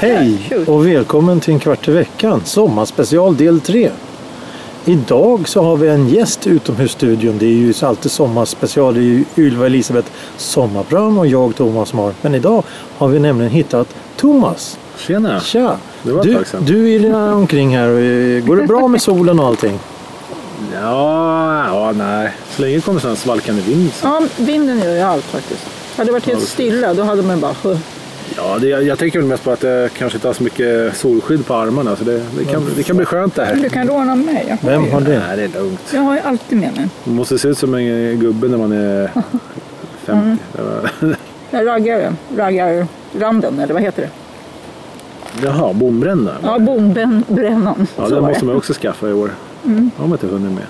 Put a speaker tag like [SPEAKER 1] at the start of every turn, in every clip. [SPEAKER 1] Hej och välkommen till en kvart i veckan, sommarspecial del 3. Idag så har vi en gäst i utomhusstudion. Det är ju alltid sommarspecial. Det är ju Ylva Elisabeth Sommarbrön och jag Thomas Mar. Men idag har vi nämligen hittat Thomas.
[SPEAKER 2] Tjena!
[SPEAKER 1] Tja!
[SPEAKER 2] Det var ett
[SPEAKER 1] Du,
[SPEAKER 2] tag sedan.
[SPEAKER 1] du irrar omkring här. och, eh, Går det bra med solen och allting?
[SPEAKER 2] Ja, ja, nej. Så länge det kommer sån här svalkande vind. så-
[SPEAKER 3] Ja, vinden gör ju allt faktiskt. Hade det varit helt stilla då hade man bara... "Huh."
[SPEAKER 2] Ja, det, jag, jag tänker väl mest på att jag kanske inte har så mycket solskydd på armarna. Så det, det, kan, det kan bli skönt det här.
[SPEAKER 3] Du kan råna mig. Jag har
[SPEAKER 1] Vem
[SPEAKER 3] ju-
[SPEAKER 1] har det?
[SPEAKER 2] Nej, det är lugnt.
[SPEAKER 3] Jag har ju alltid med mig.
[SPEAKER 2] Man måste se ut som en gubbe när man är 50.
[SPEAKER 3] Jag raggar raggar randen eller vad heter det?
[SPEAKER 2] Jaha, bombränna.
[SPEAKER 3] Ja, bombrännan.
[SPEAKER 2] Ja,
[SPEAKER 3] Så
[SPEAKER 2] den
[SPEAKER 3] var
[SPEAKER 2] måste man också skaffa i år. Mm. har man inte hunnit med.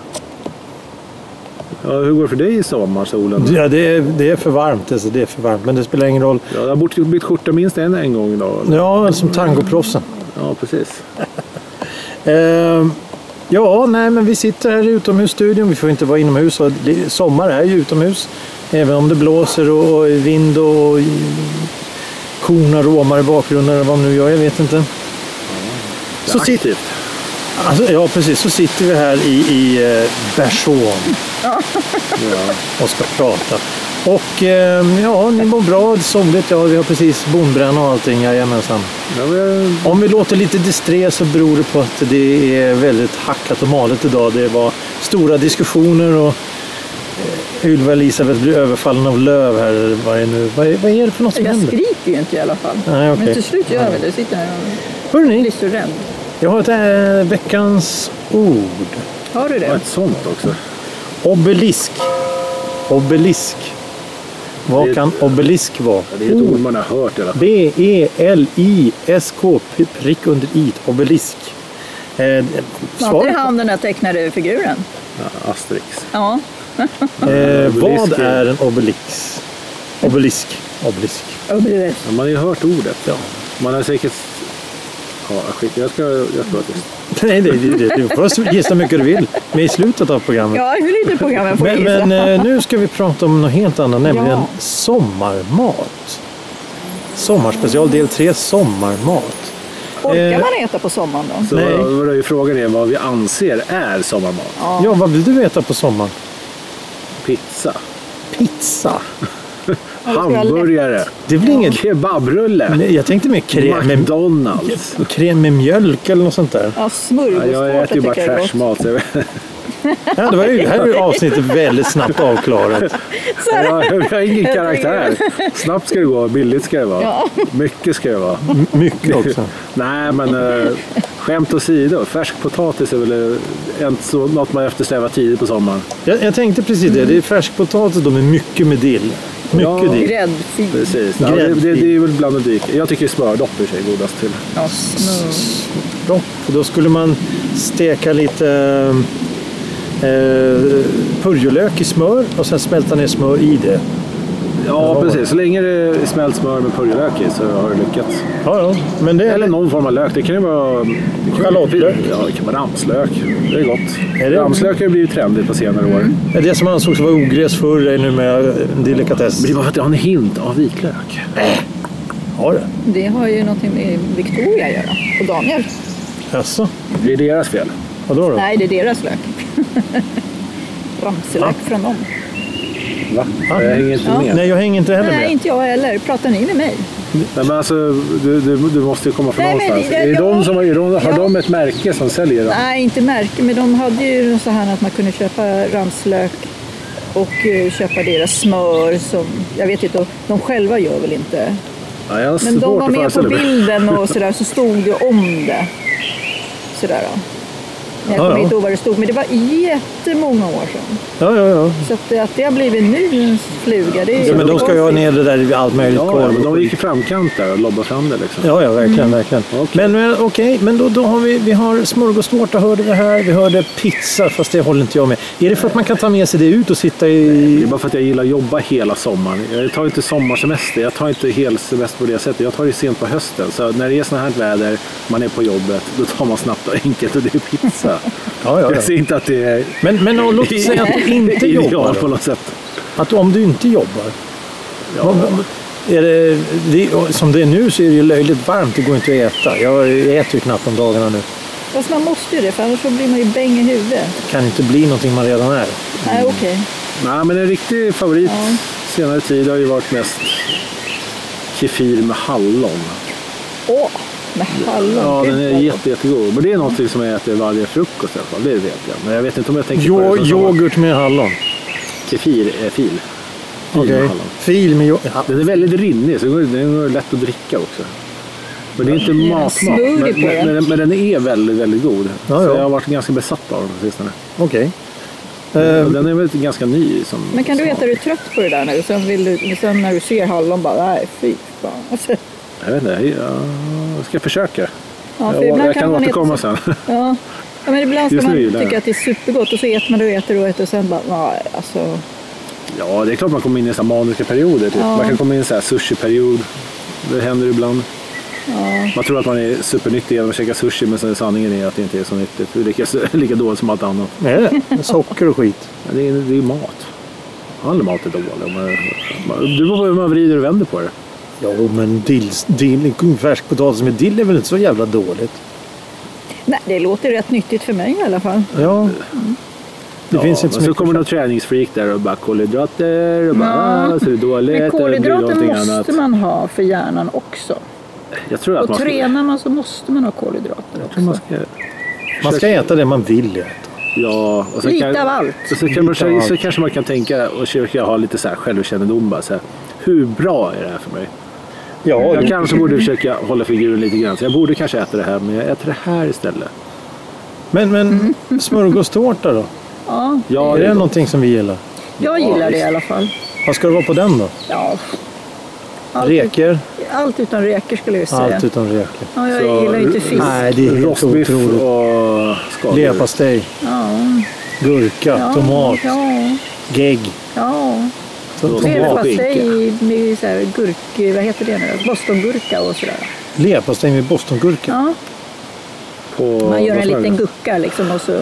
[SPEAKER 2] Ja, hur går det för dig i sommarsolen?
[SPEAKER 1] Ja, det, är, det är för varmt. Alltså, det är för varmt. Men det spelar ingen roll.
[SPEAKER 2] Ja, jag har bort- bytt skjorta minst en, en gång idag.
[SPEAKER 1] Ja, som tangoproffsen.
[SPEAKER 2] Ja, precis.
[SPEAKER 1] Ehm, ja, nej, men vi sitter här i utomhusstudion. Vi får inte vara inomhus. Och det- sommar är ju utomhus. Även om det blåser och och vind och korna råmar i bakgrunden eller vad man nu gör. Jag vet inte. Så
[SPEAKER 2] Det är
[SPEAKER 1] sitter,
[SPEAKER 2] aktivt.
[SPEAKER 1] alltså, ja, precis. Så sitter vi här i, i eh, Bersån
[SPEAKER 2] Ja.
[SPEAKER 1] och ska prata. Och ehm, ja, ni mår bra. Soligt. Ja, vi har precis bondbränna och allting. Jajamensan.
[SPEAKER 2] Ja, men-
[SPEAKER 1] Om vi låter lite disträ så beror det på att det är väldigt hackat och malet idag. Det var stora diskussioner och eh, Ylva Elisabeth blir överfallen av löv här. eller Vad är, nu? Vad är, vad är det för något som
[SPEAKER 3] Jag
[SPEAKER 1] händer?
[SPEAKER 3] skriker ju inte i alla fall.
[SPEAKER 1] Nej, okej.
[SPEAKER 3] Men till slut gör jag väl det. Jag sitter här och blir
[SPEAKER 1] Hörrni,
[SPEAKER 3] så rädd.
[SPEAKER 1] jag har ett eh, veckans ord.
[SPEAKER 3] Har du
[SPEAKER 2] Ja,
[SPEAKER 3] det?
[SPEAKER 2] ett sånt också.
[SPEAKER 1] Obelisk. Obelisk.
[SPEAKER 2] Det
[SPEAKER 1] Vad
[SPEAKER 2] är-
[SPEAKER 1] kan obelisk vara? E
[SPEAKER 2] Ja, det är ett ord man har hört i alla fall.
[SPEAKER 1] B-E-L-I-S-K p- prick under i. Obelisk. Eh,
[SPEAKER 3] Var inte det
[SPEAKER 1] svar,
[SPEAKER 3] han den där tecknade figuren?
[SPEAKER 2] Ja, Asterix.
[SPEAKER 3] Ja.
[SPEAKER 1] eh, vad
[SPEAKER 2] Obelisk är-
[SPEAKER 1] är en obelix? Obelisk. Obelisk.
[SPEAKER 3] Obelisk.
[SPEAKER 2] Ja, man har ju hört ordet. Man har säkert... Ja, skit. Jag ska... Jag tror att det...
[SPEAKER 1] Nej, det, det, det, du får gissa hur mycket du vill. Men i slutet av programmet.
[SPEAKER 3] Ja, hur lite program jag får
[SPEAKER 1] men
[SPEAKER 3] gissa.
[SPEAKER 1] men eh, nu ska vi prata om något helt annat, nämligen
[SPEAKER 3] Ja.
[SPEAKER 1] sommarmat. Sommarspecial del 3, sommarmat. eh,
[SPEAKER 3] Orkar man äta på sommaren då?
[SPEAKER 2] Så
[SPEAKER 1] Nej.
[SPEAKER 2] vad- vad är ju frågan är vad vi anser är sommarmat.
[SPEAKER 3] Ja.
[SPEAKER 1] Ja, vad vill du äta på sommaren?
[SPEAKER 2] Pizza.
[SPEAKER 1] Pizza.
[SPEAKER 2] Hamburgare.
[SPEAKER 1] Det är väl inget...
[SPEAKER 2] Kebabrulle.
[SPEAKER 1] Nej, Jag tänkte mer krem med,
[SPEAKER 2] McDonalds.
[SPEAKER 1] krem med mjölk eller något sånt där.
[SPEAKER 3] Ja,
[SPEAKER 2] Ja,
[SPEAKER 3] smörgåstårta
[SPEAKER 2] jag äter ju bara
[SPEAKER 3] tycker jag är gott.
[SPEAKER 2] trashmat. så jag vet-
[SPEAKER 1] Ja, det var ju, här är ju avsnittet väldigt snabbt avklarat.
[SPEAKER 2] Jag jag har ingen karaktär. Snabbt ska det gå, billigt ska det vara.
[SPEAKER 3] Ja.
[SPEAKER 2] Mycket ska det vara.
[SPEAKER 1] M- mycket också.
[SPEAKER 2] Nej, men eh, skämt åsido. Färsk potatis är väl eh, inte så, något man eftersträvar tidigt på sommaren.
[SPEAKER 1] Jag, jag tänkte precis det. Det är färskpotatis då med mycket med dill. Mycket
[SPEAKER 2] Ja.
[SPEAKER 1] dill.
[SPEAKER 3] Gräddfil.
[SPEAKER 2] Precis. Ja, det, det, det är väl bland det dyk. Jag tycker smördopp i sig är godast till.
[SPEAKER 3] Ja, smör.
[SPEAKER 1] Då, då skulle man steka lite eh, purjolök i smör och sen smälta ner smör i det.
[SPEAKER 2] Ja, precis. Så länge det är smält smör med purjolök i så har det lyckats.
[SPEAKER 1] Ja, ja. Men det,
[SPEAKER 2] Eller någon form av lök. Det kan ju vara...
[SPEAKER 1] Schalottlök.
[SPEAKER 2] Ja, det kan vara ramslök. Det är gott.
[SPEAKER 1] Är det- Mm.
[SPEAKER 2] Ramslök har ju blivit trendigt på senare år.
[SPEAKER 1] det som ansågs vara ogräs förr är numera en delikatess.
[SPEAKER 2] Men det var för att jag har en hint av vitlök.
[SPEAKER 1] Har det?
[SPEAKER 3] Det har ju någonting med Victoria att göra. Och Daniel.
[SPEAKER 1] Jaså?
[SPEAKER 2] Det är deras fel.
[SPEAKER 1] Vadå då?
[SPEAKER 3] Nej, det är deras lök. Ramselök från dem.
[SPEAKER 2] Va? Jag hänger inte med.
[SPEAKER 1] Nej, jag hänger inte heller
[SPEAKER 3] Nej,
[SPEAKER 1] med.
[SPEAKER 3] inte jag heller. Pratar ni med mig?
[SPEAKER 2] Nej, men alltså, du, du, du måste ju komma från
[SPEAKER 3] Nej, men
[SPEAKER 2] någonstans.
[SPEAKER 3] det-
[SPEAKER 2] är
[SPEAKER 3] jag-
[SPEAKER 2] de som, är de, har
[SPEAKER 3] jag-
[SPEAKER 2] de ett märke som säljer dem?
[SPEAKER 3] Nej, inte märke. Men de hade ju så här att man kunde köpa ramslök och eh, köpa deras smör som, jag vet inte, de själva gör väl inte.
[SPEAKER 2] Ja, jag har
[SPEAKER 3] Men de
[SPEAKER 2] svårt
[SPEAKER 3] var
[SPEAKER 2] att
[SPEAKER 3] med på
[SPEAKER 2] föreställa mig.
[SPEAKER 3] bilden och sådär, så stod det om det. Sådär då. Men Jag
[SPEAKER 1] Ja,
[SPEAKER 3] kommer
[SPEAKER 1] ja.
[SPEAKER 3] inte ihåg vad det stod, men det var jättemånga år sedan.
[SPEAKER 1] Ja, ja, ja.
[SPEAKER 3] Så att, att det har blivit en ny fluga, det är
[SPEAKER 1] ja men då ska jag ha
[SPEAKER 3] jättekonstigt.
[SPEAKER 1] ner det där i allt möjligt
[SPEAKER 2] Ja,
[SPEAKER 1] korv
[SPEAKER 2] men
[SPEAKER 1] och
[SPEAKER 2] de
[SPEAKER 1] skit.
[SPEAKER 2] gick i framkant där och lobbade fram det liksom.
[SPEAKER 1] Ja, ja, verkligen. verkligen.
[SPEAKER 2] Okej.
[SPEAKER 1] Men, men okej, men då, då har vi, vi har smörgåstårta hörde vi här. Vi hörde pizza, fast det håller inte jag med. Är det för att man kan ta med sig det ut och sitta i...
[SPEAKER 2] Det är bara för att jag gillar att jobba hela sommaren. Jag tar inte sommarsemester, jag tar inte helsemester på det sättet. Jag tar det sent på hösten. Så när det är sånt här väder, man är på jobbet, då tar man snabbt och enkelt och det är pizza.
[SPEAKER 1] Ja, ja, ja.
[SPEAKER 2] Jag ser inte att det är
[SPEAKER 1] Men, men och låt säga att du inte jobbar.
[SPEAKER 2] ideal på
[SPEAKER 1] då.
[SPEAKER 2] något sätt.
[SPEAKER 1] Att om du inte jobbar.
[SPEAKER 2] Ja.
[SPEAKER 1] Vad- vad- Är det, det, som det är nu så är det ju löjligt varmt, det går inte att äta. Jag äter ju knappt om dagarna nu.
[SPEAKER 3] Fast man måste ju det, för annars så blir man ju bäng i huvudet.
[SPEAKER 1] kan inte bli någonting man redan är.
[SPEAKER 3] Nej,
[SPEAKER 2] Mm.
[SPEAKER 3] okej.
[SPEAKER 2] Nej, men en riktig favorit
[SPEAKER 3] Ja.
[SPEAKER 2] senare tid har ju varit mest kefir med hallon.
[SPEAKER 3] Åh, med hallon.
[SPEAKER 2] Ja,
[SPEAKER 3] Gud,
[SPEAKER 2] den är
[SPEAKER 3] vad
[SPEAKER 2] jätte, jättegod. Men det är någonting som jag äter varje frukost i alla fall. Det vet jag. Men jag vet inte om jag tänker på
[SPEAKER 1] Jo,
[SPEAKER 2] det som sommar-
[SPEAKER 1] yoghurt med hallon.
[SPEAKER 2] Kefir är fil. Fil med
[SPEAKER 1] Okej.
[SPEAKER 2] hallon.
[SPEAKER 1] Fil med yoghurt. Ja.
[SPEAKER 2] Den är väldigt rinnig, så den går- den går lätt att dricka också. Men det är inte matmat. Men,
[SPEAKER 3] smoothie på
[SPEAKER 2] men,
[SPEAKER 3] den.
[SPEAKER 2] men, men den är väldigt, väldigt god. så
[SPEAKER 1] ja.
[SPEAKER 2] jag har varit ganska besatt av den på sistone.
[SPEAKER 1] Okej. Ehm.
[SPEAKER 2] Och Den är väl ganska ny. Som,
[SPEAKER 3] Men kan du
[SPEAKER 2] som
[SPEAKER 3] veta, är du trött på det där nu? Sen, vill du, sen när du ser hallon bara, nej fy fan. Alltså,
[SPEAKER 2] Jag vet inte, jag ska försöka.
[SPEAKER 3] Ja, för
[SPEAKER 2] jag,
[SPEAKER 3] ibland
[SPEAKER 2] jag
[SPEAKER 3] kan
[SPEAKER 2] kan
[SPEAKER 3] man
[SPEAKER 2] återkomma sen.
[SPEAKER 3] ja. ja, men ibland ska
[SPEAKER 2] Just
[SPEAKER 3] man
[SPEAKER 2] nu gillar jag
[SPEAKER 3] tycka
[SPEAKER 2] det.
[SPEAKER 3] att det är supergott och så äter man och äter och äter och sen bara, nej alltså.
[SPEAKER 2] Ja, det är klart man kommer in i så här maniska perioder. Typ.
[SPEAKER 3] Ja.
[SPEAKER 2] Man kan komma in i en så här sushi-period. Det händer ibland. Man tror att man är supernyttig genom att käka sushi men sen sanningen är att det inte är så nyttigt. Det är lika, lika dåligt som allt annat.
[SPEAKER 1] Är det? Socker och skit.
[SPEAKER 2] Men det är det är ju mat. All mat är dålig. Man, man, det beror på hur man vrider och vänder på det.
[SPEAKER 1] Jo, men dills, dill, färskpotatis med dill är väl inte så jävla dåligt?
[SPEAKER 3] Nej, det låter rätt nyttigt för mig i alla fall.
[SPEAKER 1] Ja. Mm. Det
[SPEAKER 2] Ja,
[SPEAKER 1] finns inte så
[SPEAKER 2] men så
[SPEAKER 1] mycket.
[SPEAKER 2] kommer någon träningsfreak där och bara kolhydrater och bara ah, så är det dåligt.
[SPEAKER 3] Men
[SPEAKER 2] eller det blir
[SPEAKER 3] kolhydrater
[SPEAKER 2] någonting
[SPEAKER 3] måste
[SPEAKER 2] annat.
[SPEAKER 3] man ha för hjärnan också.
[SPEAKER 2] Jag tror att
[SPEAKER 3] Och
[SPEAKER 2] man ska, jag
[SPEAKER 3] tränar man så måste man ha kolhydrater
[SPEAKER 2] tror man
[SPEAKER 3] också.
[SPEAKER 2] ska
[SPEAKER 1] Man ska äta det man vill äta.
[SPEAKER 2] Ja, och sen
[SPEAKER 3] Lite
[SPEAKER 2] kan,
[SPEAKER 3] av allt.
[SPEAKER 2] Och så, kan man,
[SPEAKER 1] Lite av
[SPEAKER 2] så,
[SPEAKER 1] allt.
[SPEAKER 2] så kanske man kan tänka och försöka ha lite så här självkännedom. Bara, så här, hur bra är det här för mig?
[SPEAKER 1] Ja,
[SPEAKER 2] jag kanske borde försöka hålla figuren lite grann. Så jag borde kanske äta det här, men jag äter det här istället.
[SPEAKER 1] Men, men
[SPEAKER 3] Mm.
[SPEAKER 1] smörgåstårta då?
[SPEAKER 3] Ja,
[SPEAKER 2] Ja,
[SPEAKER 1] Är det
[SPEAKER 2] det-
[SPEAKER 1] någonting som vi gillar?
[SPEAKER 3] jag
[SPEAKER 2] Ja,
[SPEAKER 3] gillar det i
[SPEAKER 2] visst.
[SPEAKER 3] alla fall.
[SPEAKER 1] Vad ska det vara på den då?
[SPEAKER 3] Ja. Allt,
[SPEAKER 1] Räkor?
[SPEAKER 3] allt utan räkor skulle jag säga.
[SPEAKER 1] Allt utom räkor.
[SPEAKER 3] Ja, jag
[SPEAKER 2] Så-
[SPEAKER 3] gillar ju inte fisk.
[SPEAKER 1] Nej, det är helt
[SPEAKER 2] Rostbiff
[SPEAKER 1] otroligt.
[SPEAKER 2] och skaldjur.
[SPEAKER 1] Leverpastej,
[SPEAKER 3] Ja,
[SPEAKER 1] gurka,
[SPEAKER 3] ja,
[SPEAKER 1] tomat,
[SPEAKER 3] Ja,
[SPEAKER 1] gegg.
[SPEAKER 3] ja.
[SPEAKER 2] Och
[SPEAKER 3] Leverpastej med så här gurk... Vad heter det nu? Bostongurka och sådär.
[SPEAKER 1] Leverpastej med bostongurka.
[SPEAKER 3] Ja,
[SPEAKER 2] På,
[SPEAKER 3] man gör en
[SPEAKER 2] vad sa
[SPEAKER 3] liten
[SPEAKER 2] du?
[SPEAKER 3] gucka liksom och så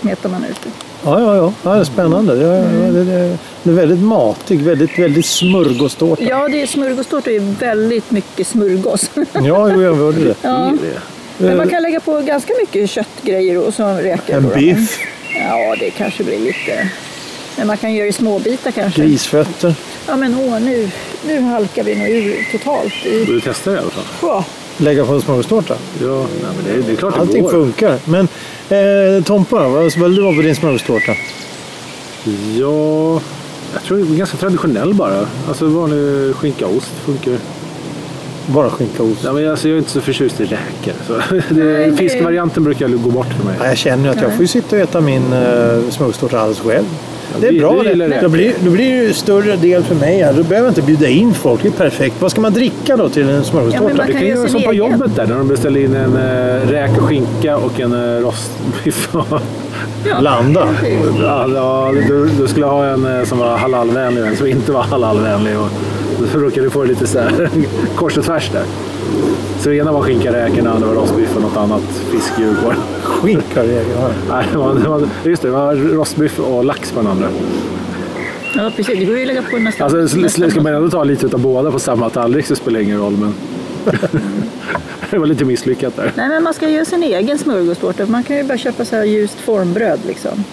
[SPEAKER 3] smetar man ut det.
[SPEAKER 1] Ja, ja, ja. ja det är spännande. Det är,
[SPEAKER 3] Mm.
[SPEAKER 1] det är, det är väldigt matig, väldigt, väldigt smörgåstårta.
[SPEAKER 3] Ja, det är smörgåstårta är ju väldigt mycket smörgås.
[SPEAKER 1] Ja, jo, jag hörde det.
[SPEAKER 3] Ja.
[SPEAKER 2] Det är det.
[SPEAKER 3] Men man kan lägga på ganska mycket köttgrejer och så räkor.
[SPEAKER 1] En
[SPEAKER 3] då, va?
[SPEAKER 1] biff,
[SPEAKER 3] Ja, det kanske blir lite... Men man kan göra i småbitar kanske.
[SPEAKER 1] grisfötter.
[SPEAKER 3] Ja, men åh, nu, nu halkar vi nog ur totalt. I...
[SPEAKER 2] Borde testa det i alla fall.
[SPEAKER 3] Åh,
[SPEAKER 1] Lägga på en smörgåstårta.
[SPEAKER 2] Ja, nej, men det, är- det är klart det
[SPEAKER 1] Allting
[SPEAKER 2] går.
[SPEAKER 1] funkar. Men eh, Tompa, vad vad vill du ha på din smörgåstårta?
[SPEAKER 2] Ja, jag tror det är ganska traditionell bara. Alltså vanlig skinka och ost funkar.
[SPEAKER 1] Bara skinka och ost.
[SPEAKER 2] Ja, men alltså, jag är inte så förtjust i räkor. Så
[SPEAKER 3] Nej,
[SPEAKER 2] det,
[SPEAKER 3] det-
[SPEAKER 2] fiskvarianten brukar gå bort för mig.
[SPEAKER 1] Ja, jag känner att jag får ju sitta och äta min eh, smörgåstårta alldeles själv. Det är
[SPEAKER 2] du-
[SPEAKER 1] bra
[SPEAKER 2] du gillar
[SPEAKER 1] det.
[SPEAKER 2] det.
[SPEAKER 1] Då blir, då blir det ju större del för mig. här. Då behöver jag inte bjuda in folk. Det är perfekt. Vad ska man dricka då till en
[SPEAKER 3] Ja, men
[SPEAKER 1] smörgåstårta?
[SPEAKER 3] man
[SPEAKER 2] Du
[SPEAKER 3] kan
[SPEAKER 2] kan
[SPEAKER 3] göra
[SPEAKER 2] göra
[SPEAKER 3] sin
[SPEAKER 2] som på
[SPEAKER 3] egen.
[SPEAKER 2] jobbet där när de beställer in en äh, räk och skinka och en äh, rostbiff.
[SPEAKER 1] Blanda.
[SPEAKER 2] ja, du, du skulle ha en eh, som var halalvänlig och en som inte var halalvänlig. Och, så råkade du få lite så här, kors och tvärs där. Så det ena var skinka, räken, det andra var rostbiff och något annat fiskdjur på den.
[SPEAKER 1] Skinka det är det.
[SPEAKER 2] Nej, det var- det var- Just det, det var rostbiff och lax på den andra.
[SPEAKER 3] Ja, precis. Det går ju att lägga på nästan...
[SPEAKER 2] Alltså, sl- sl- ska man ändå ta lite av båda på samma tallrik så spelar det ingen roll. Men... det var lite misslyckat där.
[SPEAKER 3] Nej, men man ska göra sin egen smörgåstårta. Man kan ju bara köpa så här ljust formbröd liksom.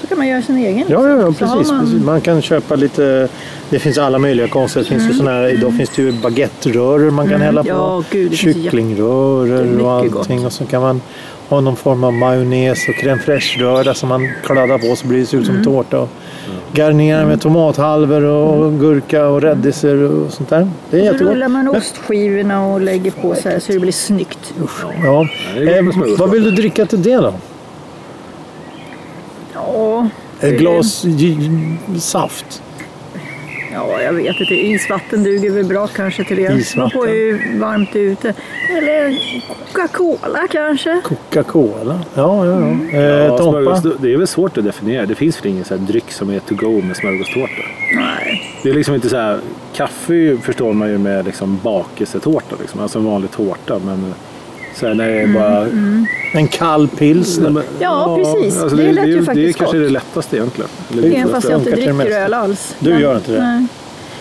[SPEAKER 3] Så kan man göra sin egen.
[SPEAKER 1] Ja, ja, ja
[SPEAKER 3] liksom. Så har
[SPEAKER 1] precis.
[SPEAKER 3] man-
[SPEAKER 1] precis. Man kan köpa lite... Det finns alla möjliga konster. Det finns ju såna här, idag finns det ju baguetterörer man kan hälla på.
[SPEAKER 3] Mm. Ja, gud, det finns ju jätte-
[SPEAKER 1] Kycklingrörer
[SPEAKER 3] mycket
[SPEAKER 1] och allting.
[SPEAKER 3] gott.
[SPEAKER 1] Och så kan man ha någon form av majonnäs och crème fraîche-röra som man kladdar på så blir det ser ut
[SPEAKER 3] Mm.
[SPEAKER 1] som tårta. Och
[SPEAKER 2] Mm.
[SPEAKER 1] garnera med tomathalvor och gurka och rädisor och sånt där. Det är
[SPEAKER 3] Mm. Så
[SPEAKER 1] jättegott.
[SPEAKER 3] rullar man ostskivorna och lägger på så här så det blir snyggt.
[SPEAKER 1] Ja.
[SPEAKER 2] det är gott
[SPEAKER 1] Eh,
[SPEAKER 2] med smörgås.
[SPEAKER 1] vad vill du dricka till det då?
[SPEAKER 3] Ja,
[SPEAKER 1] Ett glas j- saft?
[SPEAKER 3] ja, jag vet inte, isvatten duger väl bra kanske till det.
[SPEAKER 1] Isvatten.
[SPEAKER 3] Man får ju varmt ute. Eller Coca-Cola kanske.
[SPEAKER 1] Coca-Cola. Ja, ja, ja. Eh,
[SPEAKER 2] Ja,
[SPEAKER 1] Tompa.
[SPEAKER 2] smörgås- det är väl svårt att definiera. Det finns väl ingen så här dryck som är to go med smörgåstårta.
[SPEAKER 3] Nej.
[SPEAKER 2] Det är liksom inte så här, kaffe är ju- förstår man ju med liksom bakelsetårta, liksom. alltså en vanlig tårta. Men så här, när det är bara...
[SPEAKER 1] En kall pilsner.
[SPEAKER 2] men-
[SPEAKER 3] Mm,
[SPEAKER 2] Alltså,
[SPEAKER 3] Ja, precis. Det lät ju
[SPEAKER 2] Det är
[SPEAKER 3] faktiskt
[SPEAKER 2] kanske
[SPEAKER 3] gott.
[SPEAKER 2] det lättaste egentligen. Eller
[SPEAKER 1] Det är
[SPEAKER 3] Även
[SPEAKER 2] godaste.
[SPEAKER 3] fast jag inte
[SPEAKER 1] funkar till det
[SPEAKER 3] dricker
[SPEAKER 1] mesta.
[SPEAKER 3] öl alls.
[SPEAKER 1] Du gör inte det?
[SPEAKER 3] Nej.